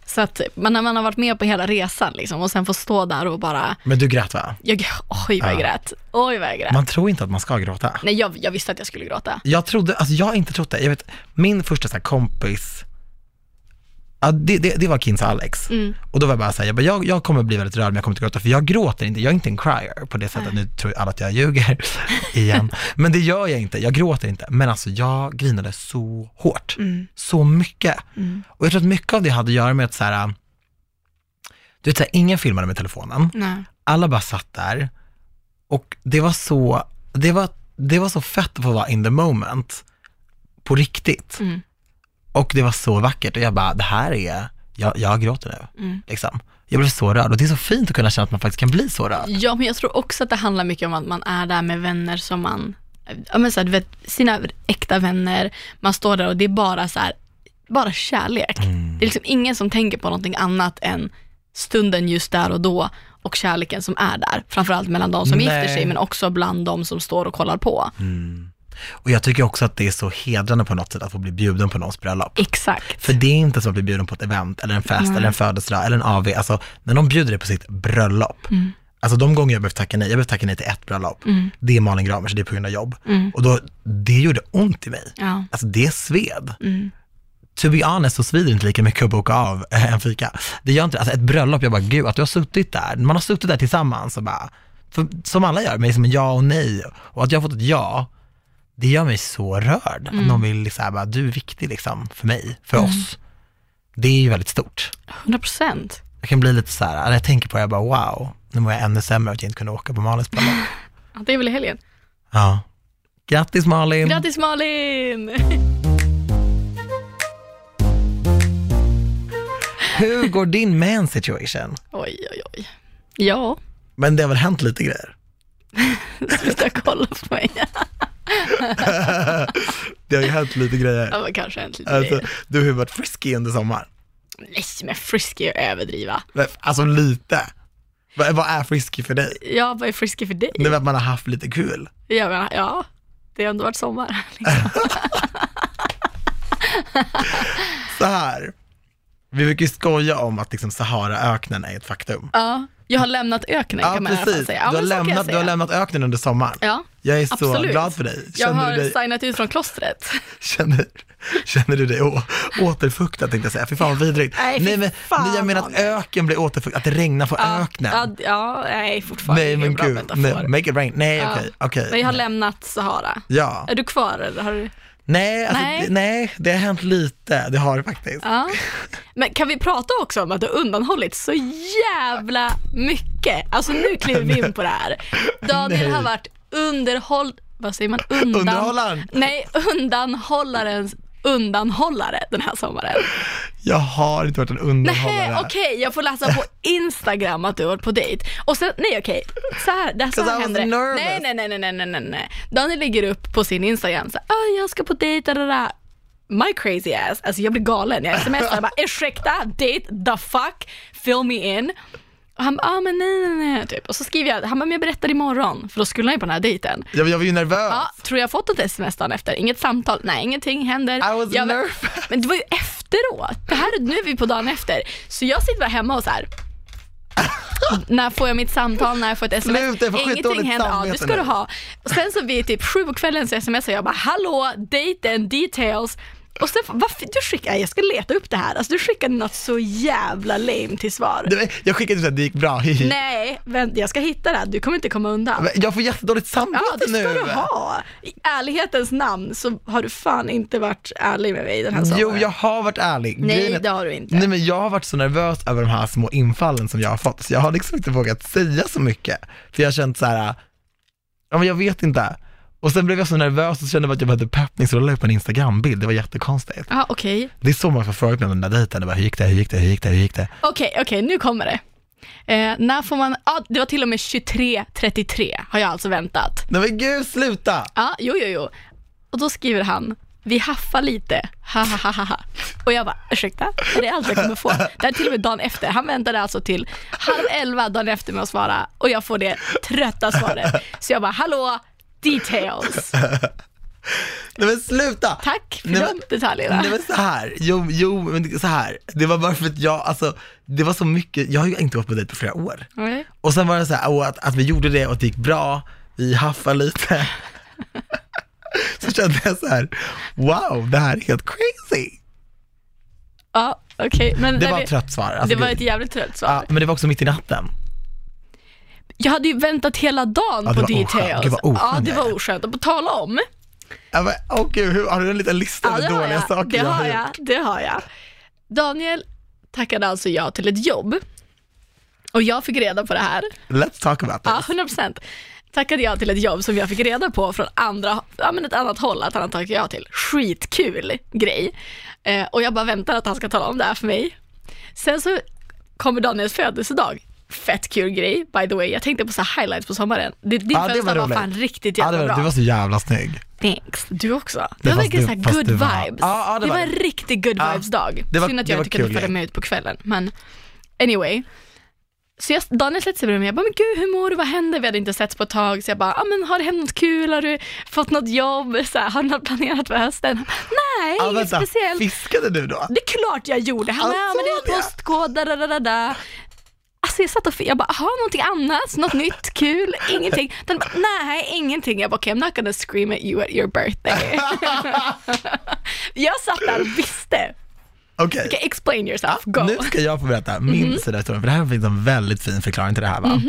Speaker 2: Så att man, när man har varit med på hela resan liksom, och sen får stå där och bara,
Speaker 1: Men du grät va?
Speaker 2: jag, oj vad
Speaker 1: Ja.
Speaker 2: jag grät, oj vad jag grät.
Speaker 1: Man tror inte att man ska gråta.
Speaker 2: Nej, jag, jag visste att jag skulle gråta.
Speaker 1: Jag trodde, alltså jag har inte trott det. Jag vet, min första så här kompis, ja, det, det, det var Kins och Alex. Och då var jag bara såhär, jag, bara, jag, jag kommer bli väldigt rörd men jag kommer inte gråta för jag gråter inte, jag är inte en crier på det sättet. Nu tror alla att jag ljuger igen. Men det gör jag inte, jag gråter inte. Men alltså jag grinade så hårt,
Speaker 2: Mm.
Speaker 1: så mycket. Och jag tror att mycket av det hade att göra med att såhär, du vet såhär, ingen filmade med telefonen
Speaker 2: Nej.
Speaker 1: alla bara satt där och det var så, det var, det var så fett att få vara in the moment på riktigt.
Speaker 2: Mm.
Speaker 1: Och det var så vackert och jag bara, det här är, jag, jag gråter nu.
Speaker 2: Mm.
Speaker 1: Liksom. Jag blev så rörd och det är så fint att kunna känna att man faktiskt kan bli så rörd.
Speaker 2: Ja, men jag tror också att det handlar mycket om att man är där med vänner som man, ja men så här, du vet, sina äkta vänner, man står där och det är bara så här, bara kärlek. Det är liksom ingen som tänker på någonting annat än stunden just där och då och kärleken som är där. Framförallt mellan de som
Speaker 1: Nej.
Speaker 2: gifter sig men också bland de som står och kollar på.
Speaker 1: Och jag tycker också att det är så hedrande på något sätt att få bli bjuden på någons bröllop.
Speaker 2: Exakt.
Speaker 1: För det är inte som att bli bjuden på ett event eller en fest eller en födelsedag eller en AV. Alltså när de bjuder dig på sitt bröllop, alltså de gånger jag behövt tacka nej, jag behövt tacka nej till ett bröllop, det är Malin Gramer, så det är på grund av jobb. Och då, det gjorde ont i mig.
Speaker 2: Ja.
Speaker 1: Alltså det sved. To be honest så svider det inte lika mycket att boka av eh, en fika. Det gör inte det. Alltså ett bröllop, jag bara gud att du har suttit där, man har suttit där tillsammans och bara, för, som alla gör, med liksom en ja och nej. Och att jag har fått ett ja, det gör mig så rörd. Att någon vill liksom, bara, du är viktig liksom för mig, för oss. Det är ju väldigt stort.
Speaker 2: 100 procent.
Speaker 1: Jag kan bli lite så här, när jag tänker på det, jag bara wow, nu mår jag ännu sämre att jag inte kunde åka på Malins bröllop.
Speaker 2: Ja, det är väl i helgen.
Speaker 1: Ja. Grattis Malin!
Speaker 2: Grattis Malin!
Speaker 1: Hur går din man situation?
Speaker 2: Oj, oj, oj. Ja,
Speaker 1: Men det har väl hänt lite grejer?
Speaker 2: sluta kolla på mig.
Speaker 1: Det har ju hänt lite grejer.
Speaker 2: Ja, men kanske en liten
Speaker 1: Alltså,
Speaker 2: grej.
Speaker 1: du har ju varit frisky under sommaren.
Speaker 2: Nej, men frisky är att överdriva.
Speaker 1: Men, Alltså lite. Vad, vad är frisky för dig?
Speaker 2: Ja, vad är frisky för dig?
Speaker 1: Det är väl att man har haft lite kul.
Speaker 2: Jag menar, ja, det har ändå varit sommar. Liksom.
Speaker 1: Så här. Vi brukar ju skoja om att liksom Saharaöknen är ett faktum.
Speaker 2: Ja, jag har lämnat öknen
Speaker 1: Ja,
Speaker 2: kan man i alla fall
Speaker 1: precis.
Speaker 2: säga.
Speaker 1: du, har
Speaker 2: men så kan jag
Speaker 1: lämnat, du
Speaker 2: säga.
Speaker 1: har lämnat öknen under sommaren.
Speaker 2: Ja,
Speaker 1: Jag är så
Speaker 2: absolut.
Speaker 1: glad för dig.
Speaker 2: Jag
Speaker 1: Känner,
Speaker 2: har
Speaker 1: du, dig,
Speaker 2: signat ut från klostret.
Speaker 1: känner, känner du dig å, återfuktad tänkte jag säga. Fy fan vad vidrigt.
Speaker 2: Nej, fy
Speaker 1: men,
Speaker 2: fan,
Speaker 1: nej, jag menar att
Speaker 2: Daniel.
Speaker 1: öken blir återfuktad, att det regnar på öknen.
Speaker 2: Ja, d- ja, nej, fortfarande
Speaker 1: nej
Speaker 2: ingen
Speaker 1: men
Speaker 2: bra
Speaker 1: gud,
Speaker 2: metafor.
Speaker 1: nej, make it rain. Nej
Speaker 2: Ja.
Speaker 1: okej, okej.
Speaker 2: Men jag har lämnat Sahara.
Speaker 1: Ja.
Speaker 2: Är du kvar eller har du?
Speaker 1: Nej, alltså,
Speaker 2: Nej.
Speaker 1: nej. Det, nej, det har hänt lite. Det har det faktiskt.
Speaker 2: Ja. Men kan vi prata också om att du har undanhållit så jävla mycket? Alltså nu kliver vi in på det här. Daniel
Speaker 1: Nej.
Speaker 2: har varit underhåll... Vad säger man? Undan...
Speaker 1: Underhållaren.
Speaker 2: Nej, undanhållarens undanhållare den här sommaren.
Speaker 1: Jag har inte varit en
Speaker 2: Nej,
Speaker 1: underhållare.
Speaker 2: okej, jag får läsa på Instagram att du har varit på dejt. Och sen, nej okej, så här, det här, så
Speaker 1: 'Cause I
Speaker 2: här
Speaker 1: was
Speaker 2: händer det.
Speaker 1: nervous.
Speaker 2: Nej, nej, nej, nej, nej, nej, nej, nej. Daniel lägger upp på sin Instagram så här, ah, jag ska på dejt, da, da, da. My crazy ass, alltså jag blir galen. Jag smsar bara, ursäkta, date, the fuck, fill me in. Och han bara, ah, men nej, nej, nej, typ. Och så skriver jag, han bara, men jag berättar imorgon, för då skulle han ju på den här dejten.
Speaker 1: Jag, jag var ju nervös.
Speaker 2: Ja, tror jag fått ett sms dagen efter? Inget samtal? Nej, ingenting händer.
Speaker 1: I was
Speaker 2: jag,
Speaker 1: nervous.
Speaker 2: men det var ju efteråt. Det här, nu är vi på dagen efter. Så jag sitter bara hemma och så här. när får jag mitt samtal? När får jag ett sms?
Speaker 1: Sluta, jag får
Speaker 2: Ingenting
Speaker 1: skitdåligt
Speaker 2: händer. Ja, du
Speaker 1: samvete
Speaker 2: ska du
Speaker 1: nu.
Speaker 2: ha. Och sen så vid typ sju på kvällen så smsar jag bara hallå, dejten, details. Och sen, varför, du skickar, jag ska leta upp det här. Alltså du skickade något så jävla lame till svar.
Speaker 1: Du, Jag skickade ut att det gick bra. hihi.
Speaker 2: Nej, vänta, jag ska hitta det här. Du kommer inte komma undan.
Speaker 1: Men Jag får jättedåligt samvete
Speaker 2: Ja, det ska
Speaker 1: nu.
Speaker 2: du ha. I ärlighetens namn så har du fan inte varit ärlig med mig den här sommaren.
Speaker 1: Jo, jag har varit ärlig. Grejen
Speaker 2: alltså. Nej,
Speaker 1: är-
Speaker 2: det har du inte.
Speaker 1: Nej men jag har varit så nervös över de här små infallen som jag har fått, så jag har liksom inte vågat säga så mycket. För jag har känt så här, ja men jag vet inte. Och sen blev jag så nervös och kände att jag behövde peppning, så då la jag upp en Instagram-bild, det var jättekonstigt.
Speaker 2: Ja, okej.
Speaker 1: Det är så man får frågor på den där dejten, Det bara, hur gick det, hur gick det, hur gick det, hur gick det?
Speaker 2: Okej, okej, nu kommer det. Eh, när får man, ja det var till och med 23.33 har jag alltså väntat.
Speaker 1: Nej men gud, sluta!
Speaker 2: Ja, jo, jo, jo. Och då skriver han, vi haffar lite, ha, ha, ha, ha, ha. Och jag bara, ursäkta, är det allt jag kommer få? Det här är till och med dagen efter. Han väntade alltså till halv elva dagen efter med att svara och jag får det trötta svaret. Så jag bara, hallå, details.
Speaker 1: Nej men sluta!
Speaker 2: Tack för
Speaker 1: Nej,
Speaker 2: de detaljerna.
Speaker 1: Nej men så här, jo, jo men det- så här. Det var bara för att jag, alltså, det var så mycket, jag har ju inte varit på dejt på flera år.
Speaker 2: Okej.
Speaker 1: Och sen var det så här, åh, att, att vi gjorde det och att det gick bra, vi haffade lite. så kände jag så här, wow, det här är helt crazy.
Speaker 2: Ja, okej. Men
Speaker 1: Det
Speaker 2: när
Speaker 1: var
Speaker 2: vi-
Speaker 1: ett trött svar. Alltså,
Speaker 2: det var
Speaker 1: gud.
Speaker 2: ett jävligt trött svar.
Speaker 1: ja, men det var också mitt i natten.
Speaker 2: Jag hade ju väntat hela dagen
Speaker 1: Ja, det
Speaker 2: på
Speaker 1: var
Speaker 2: details.
Speaker 1: oskönt. Gud, vad oskönt
Speaker 2: ja, det
Speaker 1: jag
Speaker 2: var
Speaker 1: är.
Speaker 2: oskönt. Och på tala om.
Speaker 1: Ja, men, åh gud, hur, har du en liten lista
Speaker 2: Ja,
Speaker 1: över
Speaker 2: det har
Speaker 1: dåliga
Speaker 2: jag.
Speaker 1: saker
Speaker 2: Det har
Speaker 1: gjort?
Speaker 2: jag. Det har jag. Daniel tackade alltså ja till ett jobb. Och jag fick reda på det här.
Speaker 1: Let's talk about this.
Speaker 2: Ja, 100 procent. Tackade jag till ett jobb som jag fick reda på från andra, ja, men ett annat håll att han har tackat ja till. Skitkul grej. Eh, och jag bara väntar att han ska tala om det här för mig. Sen så kommer Daniels födelsedag. Fett kul grej, by the way. Jag tänkte på så här highlights på sommaren. Din, din
Speaker 1: Ja, det
Speaker 2: födelsedag
Speaker 1: var
Speaker 2: var,
Speaker 1: roligt. fan
Speaker 2: fan riktigt
Speaker 1: Ja,
Speaker 2: jävla
Speaker 1: det var,
Speaker 2: bra.
Speaker 1: du var så jävla snygg.
Speaker 2: Thanks. Du också. Det var
Speaker 1: fast
Speaker 2: verkligen
Speaker 1: du-
Speaker 2: såhär
Speaker 1: fast
Speaker 2: good
Speaker 1: du var-
Speaker 2: vibes.
Speaker 1: Ja, ja,
Speaker 2: det, var en riktig good
Speaker 1: Ja.
Speaker 2: vibes dag.
Speaker 1: Det var-
Speaker 2: Synd att
Speaker 1: det
Speaker 2: jag
Speaker 1: var
Speaker 2: inte kunde
Speaker 1: kul
Speaker 2: följa
Speaker 1: grej.
Speaker 2: med ut på kvällen. Men anyway. Så jag, Daniel släppte sig bredvid mig. Jag bara, men gud hur mår du? Vad händer? Vi hade inte setts på ett tag. Så jag bara, ah, men har det hänt något kul? Har du fått något jobb? Så här, har du något planerat för hösten? Han bara, Nej,
Speaker 1: Ja,
Speaker 2: inget
Speaker 1: vänta,
Speaker 2: speciellt.
Speaker 1: Fiskade du då?
Speaker 2: Det är klart jag gjorde. Han bara, ja men det är en
Speaker 1: Antonija.
Speaker 2: postkod, da, da, da, da, da. Alltså jag satt och fi- jag bara, aha, någonting annat, något nytt, kul, ingenting. Den bara, nej, ingenting. Jag bara, okej, I'm not gonna scream at you at your birthday. jag satt där och visste.
Speaker 1: Okej,
Speaker 2: Okay, explain yourself, go.
Speaker 1: nu ska jag få berätta min sida av historien, för det här finns en väldigt fin förklaring till det här va.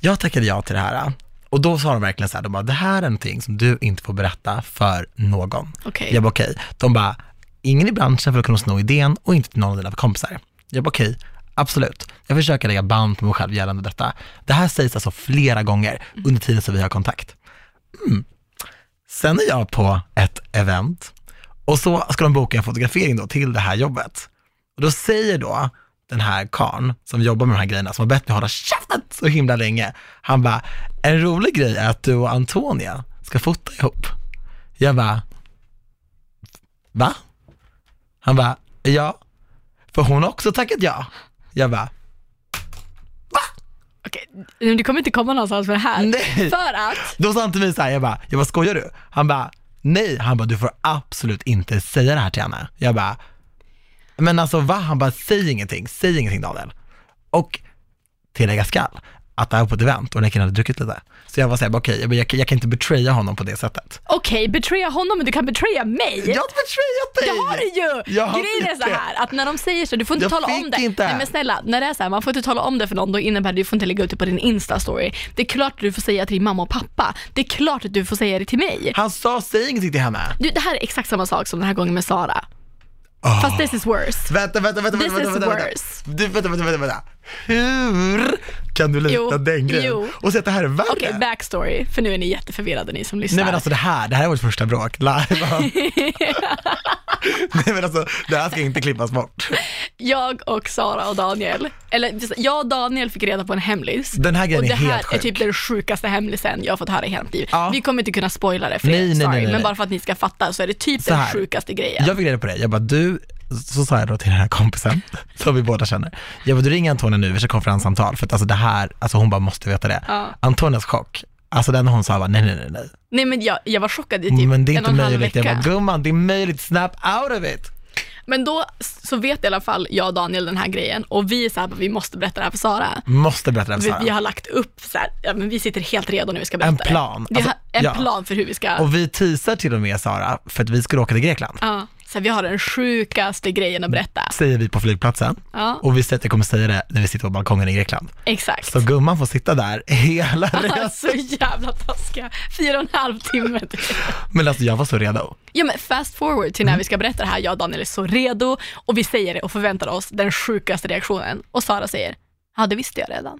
Speaker 1: Jag tackade ja till det här och då sa de verkligen så här, de bara, det här är någonting som du inte får berätta för någon.
Speaker 2: Okej.
Speaker 1: Jag bara okej. De bara, ingen i branschen för att kunna sno idén och inte till någon av dina kompisar. Jag bara okej, absolut. Jag försöker lägga band på mig själv gällande detta. Det här sägs alltså flera gånger under tiden som vi har kontakt. Mm. Sen är jag på ett event och så ska de boka en fotografering då till det här jobbet. Och då säger då den här karn som jobbar med de här grejerna, som har bett mig hålla käften så himla länge, han bara, en rolig grej är att du och Antonia ska fota ihop. Jag bara, va? Han bara, ja, för hon har också tackat ja. Jag bara,
Speaker 2: Okej, men du kommer inte komma någonstans med det här.
Speaker 1: Nej.
Speaker 2: För att,
Speaker 1: då sa han till mig så här, jag bara, jag bara, skojar du? Han bara, nej, han bara, du får absolut inte säga det här till henne. Jag bara, men alltså va? Han bara, säg ingenting, säg ingenting Daniel. Och tillägga skall att det här var på ett event och den här killen hade druckit lite. Så jag var såhär, okej, jag, bara, jag, jag kan inte betraya honom på det sättet.
Speaker 2: okej, betraya honom men du kan betraya mig.
Speaker 1: Jag har inte betrayat dig!
Speaker 2: Jag har det ju!
Speaker 1: Jag har
Speaker 2: Grejen är
Speaker 1: inte
Speaker 2: så här att när de säger så, du får inte
Speaker 1: Jag
Speaker 2: tala
Speaker 1: fick
Speaker 2: om det.
Speaker 1: inte.
Speaker 2: Nej men snälla, när det är så här, man får inte tala om det för någon, då innebär det att du får inte lägga ut det på din Insta-story. Det är klart att du får säga till din mamma och pappa. Det är klart att du får säga det till mig.
Speaker 1: Han sa, säg ingenting till henne.
Speaker 2: Du, det här är exakt samma sak som den här gången med Sara.
Speaker 1: Ah.
Speaker 2: Fast this is worse.
Speaker 1: Vänta, vänta, vänta,
Speaker 2: This
Speaker 1: vänta, vänta,
Speaker 2: is
Speaker 1: vänta,
Speaker 2: worse.
Speaker 1: vänta. Du, vänta, vänta, vänta, vänta. Hur kan du lita
Speaker 2: Jo,
Speaker 1: den grejen?
Speaker 2: jo.
Speaker 1: Och säga att det här är värre?
Speaker 2: Okej, backstory, för nu är ni jätteförvirrade ni som lyssnar.
Speaker 1: Nej men alltså det här, det här är vårt första bråk live. Nej men alltså det här ska inte klippas bort.
Speaker 2: Jag och Sara och Daniel, eller jag och Daniel fick reda på en hemlis.
Speaker 1: Den här grejen
Speaker 2: och det
Speaker 1: är
Speaker 2: här
Speaker 1: helt
Speaker 2: är
Speaker 1: sjuk.
Speaker 2: typ den sjukaste hemlisen jag har fått höra i hela mitt liv.
Speaker 1: Ja.
Speaker 2: Vi kommer inte kunna spoila det för
Speaker 1: Nej,
Speaker 2: er,
Speaker 1: nej,
Speaker 2: sorry.
Speaker 1: nej, nej,
Speaker 2: Men
Speaker 1: nej.
Speaker 2: bara för att ni ska fatta så är det typ
Speaker 1: Så
Speaker 2: den
Speaker 1: här.
Speaker 2: sjukaste grejen.
Speaker 1: Jag fick reda på det, jag bara du, så sa jag då till den här kompisen som vi båda känner. Jag bara du ringer Antonia nu, vi kör konferenssamtal för att alltså det här, alltså hon bara måste veta det.
Speaker 2: Ja.
Speaker 1: Antonias chock, alltså den hon sa var nej nej nej nej.
Speaker 2: Nej men jag, jag var chockad i typ
Speaker 1: Mm, men det är
Speaker 2: en och
Speaker 1: inte
Speaker 2: en halv
Speaker 1: möjligt, jag bara
Speaker 2: vecka.
Speaker 1: gumman det är möjligt, snap out of it.
Speaker 2: Men då s- så vet i alla fall jag och Daniel den här grejen och vi är så här, vi måste berätta det här för Sara.
Speaker 1: Måste berätta det här för
Speaker 2: Vi,
Speaker 1: Sara.
Speaker 2: vi har lagt upp så här, ja, men vi sitter helt redo när vi ska berätta
Speaker 1: En plan.
Speaker 2: det. Vi har
Speaker 1: Alltså,
Speaker 2: en
Speaker 1: ja.
Speaker 2: plan för hur vi ska
Speaker 1: Och vi teasar till och med Sara för att vi skulle åka till Grekland.
Speaker 2: Ja, så här, vi har den sjukaste grejen att berätta.
Speaker 1: Säger vi på flygplatsen.
Speaker 2: Ja.
Speaker 1: Och vi säger att jag kommer säga det när vi sitter på balkongen i Grekland.
Speaker 2: Exakt.
Speaker 1: Så gumman får sitta där hela
Speaker 2: Ja,
Speaker 1: resan.
Speaker 2: Så jävla taskiga. Fyra och en halv timme. till. Mm.
Speaker 1: Men alltså jag var så redo.
Speaker 2: Ja men fast forward till när vi ska berätta det här, jag och Daniel är så redo och vi säger det och förväntar oss den sjukaste reaktionen och Sara säger, ja det visste jag redan.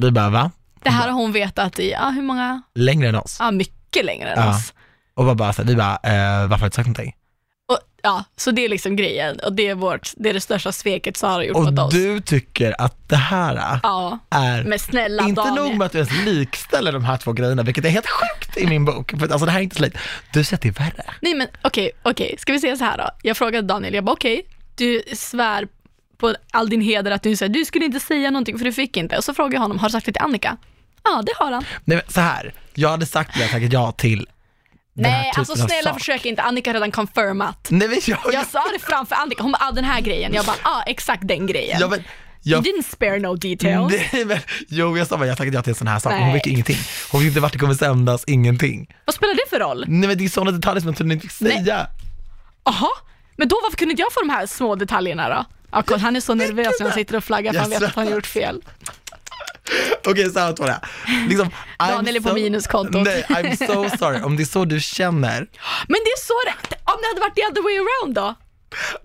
Speaker 1: Vi bara va?
Speaker 2: Det här har hon vetat i, ja hur många,
Speaker 1: Längre än oss.
Speaker 2: ja mycket längre än
Speaker 1: Ja.
Speaker 2: oss.
Speaker 1: Och var bara så här, vi bara, eh, varför har du inte sagt någonting?
Speaker 2: Och, ja, så det är liksom grejen och det är, vårt, det, är det största sveket Sara har gjort mot
Speaker 1: Och
Speaker 2: oss.
Speaker 1: du tycker att det här eh,
Speaker 2: Ja,
Speaker 1: är
Speaker 2: men snälla
Speaker 1: inte
Speaker 2: Daniel.
Speaker 1: nog med att du ens likställer de här två grejerna, vilket är helt sjukt i min bok. För att, alltså det här är inte så likt. Du säger att det är värre.
Speaker 2: Nej men okej, okej, ska vi säga så här då? Jag frågade Daniel, jag bara okej, du svär på all din heder att du säger du skulle inte säga någonting för du fick inte. Och så frågade jag honom, har du sagt det till Annika? Ja, det har han.
Speaker 1: Nej men så här, jag hade sagt det jag hade tackat ja till den här
Speaker 2: Nej,
Speaker 1: typen
Speaker 2: alltså
Speaker 1: av
Speaker 2: snälla
Speaker 1: sak.
Speaker 2: försök inte. Annika har redan confirmat.
Speaker 1: Nej, men jag, jag,
Speaker 2: Jag sa det framför Annika, hon bara ah, den här grejen. Jag bara ah, exakt den grejen.
Speaker 1: jag, men- jag,
Speaker 2: You didn't spare no details.
Speaker 1: Nej, men, jo, jag sa bara, jag tackade ja till en sån här sak, men hon
Speaker 2: Nej.
Speaker 1: fick ingenting. Hon fick inte vart det kommer sändas, ingenting.
Speaker 2: Vad spelar det för roll?
Speaker 1: Nej, men det är sådana detaljer som jag trodde ni inte fick
Speaker 2: Nej.
Speaker 1: säga.
Speaker 2: Aha, men då varför kunde inte jag få de här små detaljerna då? Ja, kolla, han är så nervös när han sitter och flaggar för han
Speaker 1: Jag
Speaker 2: vet att han har gjort fel.
Speaker 1: Okej, så här var det. Liksom, I'm
Speaker 2: Daniel är på minuskontot.
Speaker 1: Nej, I'm so sorry. Om det är så du känner.
Speaker 2: Men det är så det, om det hade varit the other way around då?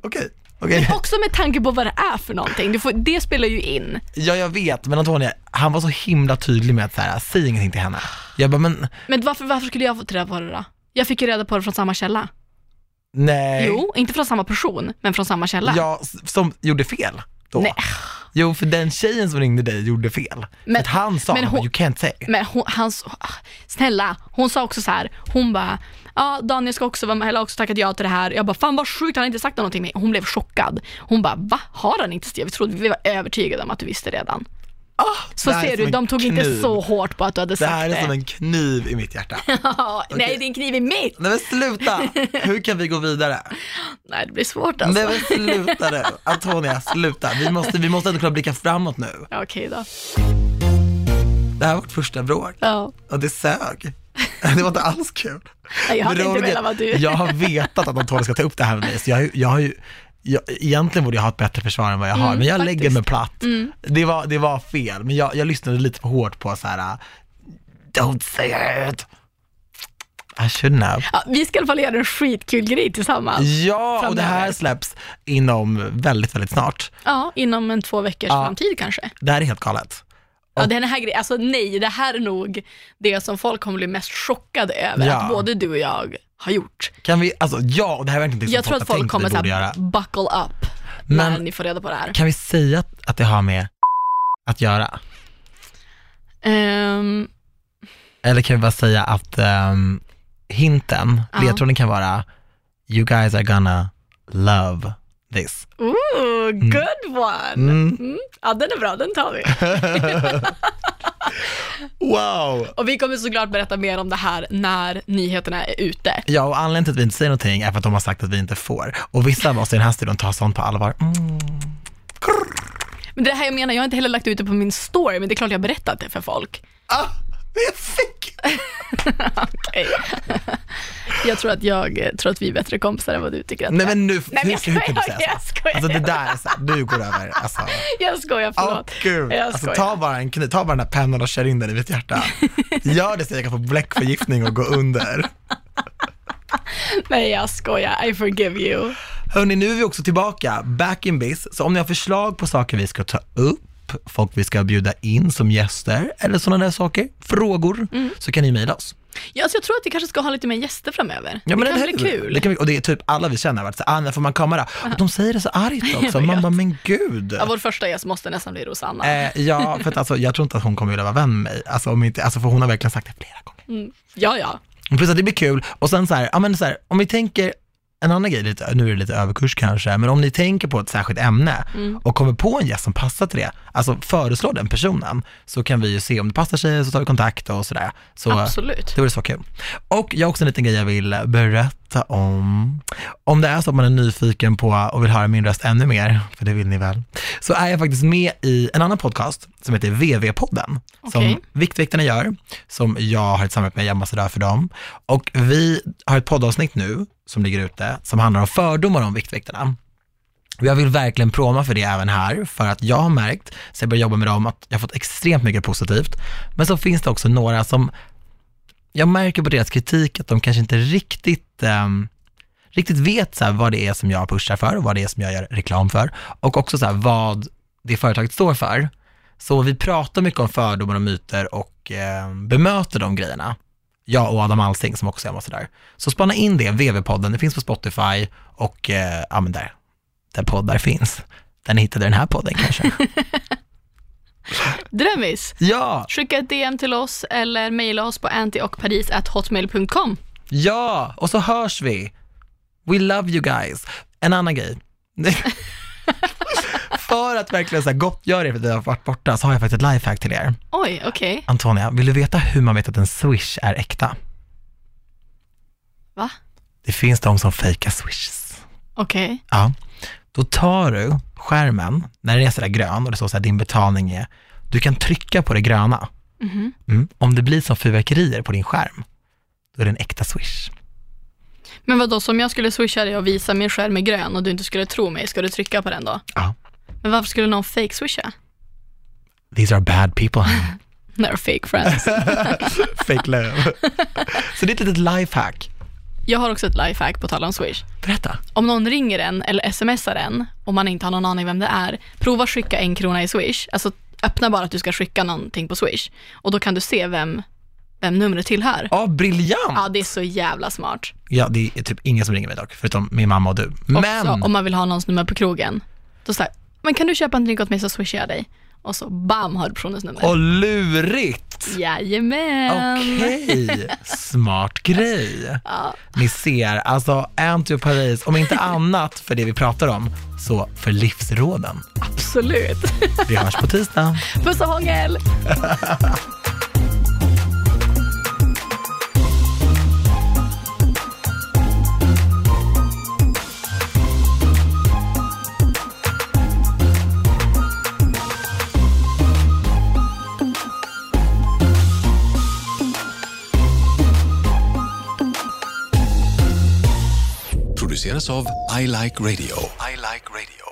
Speaker 1: Okej, okej.
Speaker 2: Också med tanke på vad det är för någonting, du får, det spelar ju in.
Speaker 1: Ja, jag vet, men Antonija, han var så himla tydlig med att så här, säg ingenting till henne. Jag bara, men
Speaker 2: Men varför, varför skulle jag få reda på det då? Jag fick ju reda på det från samma källa.
Speaker 1: nej.
Speaker 2: Jo, inte från samma person, men från samma källa.
Speaker 1: Jag s- som gjorde fel då.
Speaker 2: Nej.
Speaker 1: Jo, för den tjejen som ringde dig gjorde fel.
Speaker 2: Men-
Speaker 1: Men, att han sa,
Speaker 2: men
Speaker 1: men
Speaker 2: hon-
Speaker 1: you can't say.
Speaker 2: Men hon, han, s- snälla, hon sa också så här, hon bara, ja Daniel ska också vara med, eller har också tackat ja till det här. Jag bara, fan vad sjukt, han har inte sagt någonting med Hon blev chockad. Hon bara, va? Har han inte det? Vi trodde, vi var övertygade om att du visste redan. Så
Speaker 1: Ah, det här är
Speaker 2: ser
Speaker 1: som
Speaker 2: du,
Speaker 1: en
Speaker 2: de tog inte
Speaker 1: kniv.
Speaker 2: så hårt på att du hade
Speaker 1: Det här
Speaker 2: sagt det.
Speaker 1: är som en kniv i mitt hjärta.
Speaker 2: Ja, Nej, din kniv är mitt!
Speaker 1: Nej men sluta! Hur kan vi gå vidare?
Speaker 2: Nej, det blir svårt alltså.
Speaker 1: Nej men sluta nu. Antonia, sluta. Vi måste, vi måste ändå kunna blicka framåt nu.
Speaker 2: Ja, Okej då.
Speaker 1: Det här var vårt första bråk
Speaker 2: Ja.
Speaker 1: och det sög. Det var inte alls kul.
Speaker 2: Nej, Jag hade
Speaker 1: Men det var väl
Speaker 2: inte
Speaker 1: det-
Speaker 2: velat vara du.
Speaker 1: Jag har vetat att Antonija ska ta upp det här med mig, så jag, har ju- jag har ju jag, egentligen borde jag ha ett bättre försvar än vad jag har,
Speaker 2: Mm,
Speaker 1: men jag lägger mig platt. Det, var, det var fel, men jag, jag lyssnade lite för hårt på så här. äh, don't say it. I should know.
Speaker 2: Ja, vi ska i alla fall göra en skitkul grej tillsammans.
Speaker 1: Ja, och det här
Speaker 2: Framöver.
Speaker 1: släpps inom väldigt, väldigt snart.
Speaker 2: Ja, inom en två veckors
Speaker 1: Ja.
Speaker 2: framtid kanske.
Speaker 1: Det här är helt galet.
Speaker 2: Ja, den här grejen, alltså nej, det här är nog det som folk kommer bli mest chockade över
Speaker 1: Ja.
Speaker 2: att både du och jag har gjort.
Speaker 1: Kan vi, alltså ja, och det här är verkligen inte
Speaker 2: Jag tror att folk kommer
Speaker 1: att
Speaker 2: såhär,
Speaker 1: göra.
Speaker 2: buckle up när
Speaker 1: Men-
Speaker 2: ni får reda på det här.
Speaker 1: Kan vi säga att, att det har med att göra?
Speaker 2: Ehm,
Speaker 1: Eller kan vi bara säga att ehm, hinten,
Speaker 2: Ja.
Speaker 1: ledtråden kan vara You guys are gonna love this.
Speaker 2: ooh, good one!
Speaker 1: Mm.
Speaker 2: Mm. Ja, den är bra, den tar vi.
Speaker 1: Wow!
Speaker 2: Och vi kommer såklart berätta mer om det här när nyheterna är ute.
Speaker 1: Ja, och anledningen till att vi inte säger någonting är för att de har sagt att vi inte får. Och vissa av oss i den här studion tar sånt på allvar. Mm.
Speaker 2: Men det här jag menar, jag har inte heller lagt ut det på min story, men det är klart jag har berättat det för folk.
Speaker 1: Ah, det är sick!
Speaker 2: Okej. jag tror att jag eh, tror att vi är bättre kompisar än vad du tycker att
Speaker 1: Nej men nu,
Speaker 2: Nej, men jag
Speaker 1: hur, hur kan du
Speaker 2: skojar,
Speaker 1: säga
Speaker 2: jag
Speaker 1: så?
Speaker 2: skojar.
Speaker 1: Alltså det där är så här, du går över. Alltså,
Speaker 2: Jag skojar,
Speaker 1: åh
Speaker 2: förlåt.
Speaker 1: gud.
Speaker 2: Jag
Speaker 1: Alltså
Speaker 2: skojar.
Speaker 1: ta bara en kniv, ta bara den här pennan och kör in den i mitt hjärta. Gör det så jag kan få bläckförgiftning och gå under.
Speaker 2: Nej, jag skojar. I forgive you.
Speaker 1: Hörni, nu är vi också tillbaka, back in biz. Så om ni har förslag på saker vi ska ta upp, folk vi ska bjuda in som gäster eller sådana där saker, frågor, så kan ni mejla oss.
Speaker 2: Ja, alltså jag tror att vi kanske ska ha lite mer gäster framöver. det
Speaker 1: men
Speaker 2: kanske
Speaker 1: här-
Speaker 2: blir kul.
Speaker 1: Det kan bli, och det är typ alla vi känner, har varit så här, ah, när får man komma då? Och de säger det så argt också, man bara, men gud.
Speaker 2: Ja, vår första gäst måste nästan bli Rosanna.
Speaker 1: Eh, ja, för att alltså, jag tror inte att hon kommer vilja vara vän med mig, alltså, om inte, alltså, för hon har verkligen sagt det flera gånger.
Speaker 2: Ja, ja.
Speaker 1: Och Plus att det blir kul, och sen så här, ja, men så här om vi tänker, en annan grej, lite, nu är det lite överkurs kanske, men om ni tänker på ett särskilt ämne och kommer på en gäst som passar till det, alltså föreslå den personen, så kan vi ju se om det passar sig, så tar vi kontakt och sådär. Så,
Speaker 2: Absolut.
Speaker 1: det vore så kul. Och jag har också en liten grej jag vill berätta om. Om det är så att man är nyfiken på och vill höra min röst ännu mer, för det vill ni väl, så är jag faktiskt med i en annan podcast som heter VV-podden,
Speaker 2: Okej.
Speaker 1: som Viktväktarna gör, som jag har ett samarbete med, jag är ambassadör för dem. Och vi har ett poddavsnitt nu som ligger ute, som handlar om fördomar om Viktväktarna. Och jag vill verkligen proma för det även här, för att jag har märkt, sen jag började jobba med dem, att jag har fått extremt mycket positivt. Men så finns det också några som jag märker på deras kritik att de kanske inte riktigt, ehm, riktigt vet så här vad det är som jag pushar för och vad det är som jag gör reklam för och också så här vad det företaget står för. Så vi pratar mycket om fördomar och myter och ehm, bemöter de grejerna. Jag och Adam Alsing som också är ambassadör. Så spana in det, VV-podden, det finns på Spotify och eh, ja men där, där poddar finns. Där ni hittade den här podden kanske.
Speaker 2: Drömmis.
Speaker 1: ja,
Speaker 2: Skicka ett DM till oss eller mejla oss på antiochparis.hotmail.com.
Speaker 1: Ja, och så hörs vi. We love you guys. En annan grej. för att verkligen så här gottgöra er för att vi har varit borta så har jag faktiskt ett lifehack till er.
Speaker 2: Oj, okej.
Speaker 1: Antonia, vill du veta hur man vet att en swish är äkta?
Speaker 2: Va?
Speaker 1: Det finns de som fejkar swishes.
Speaker 2: Okej.
Speaker 1: Ja. Då tar du skärmen, när den är sådär grön och det står såhär din betalning är, du kan trycka på det gröna.
Speaker 2: Mhm.
Speaker 1: Mm. Om det blir som fyrverkerier på din skärm, då är det en äkta swish.
Speaker 2: Men vadå, som jag skulle swisha dig och visa min skärm är grön och du inte skulle tro mig, ska du trycka på den då?
Speaker 1: Ja.
Speaker 2: Men varför skulle någon fake swisha?
Speaker 1: These are bad people.
Speaker 2: They're fake friends.
Speaker 1: Fake love. Så det är ett litet lifehack.
Speaker 2: Jag har också ett lifehack på tal om swish.
Speaker 1: Berätta.
Speaker 2: Om någon ringer en eller smsar en och man inte har någon aning vem det är, prova skicka en krona i swish. Alltså öppna bara att du ska skicka någonting på swish och då kan du se vem, vem numret tillhör.
Speaker 1: Ja, briljant.
Speaker 2: Ja, det är så jävla smart.
Speaker 1: Ja, det är typ ingen som ringer mig dock, förutom min mamma och du. Men,
Speaker 2: Också, om man vill ha någons nummer på krogen. Då säger men kan du köpa en drink åt mig så swishar jag dig. Och så bam har du personens nummer.
Speaker 1: och lurigt.
Speaker 2: Jajamän.
Speaker 1: Okej, smart grej. Ni ser, alltså Anty och Paris, om inte annat för det vi pratar om, så för livsråden.
Speaker 2: Absolut.
Speaker 1: Vi hörs på tisdag.
Speaker 2: Puss och hångel.
Speaker 3: produceras av I Like Radio. I like radio.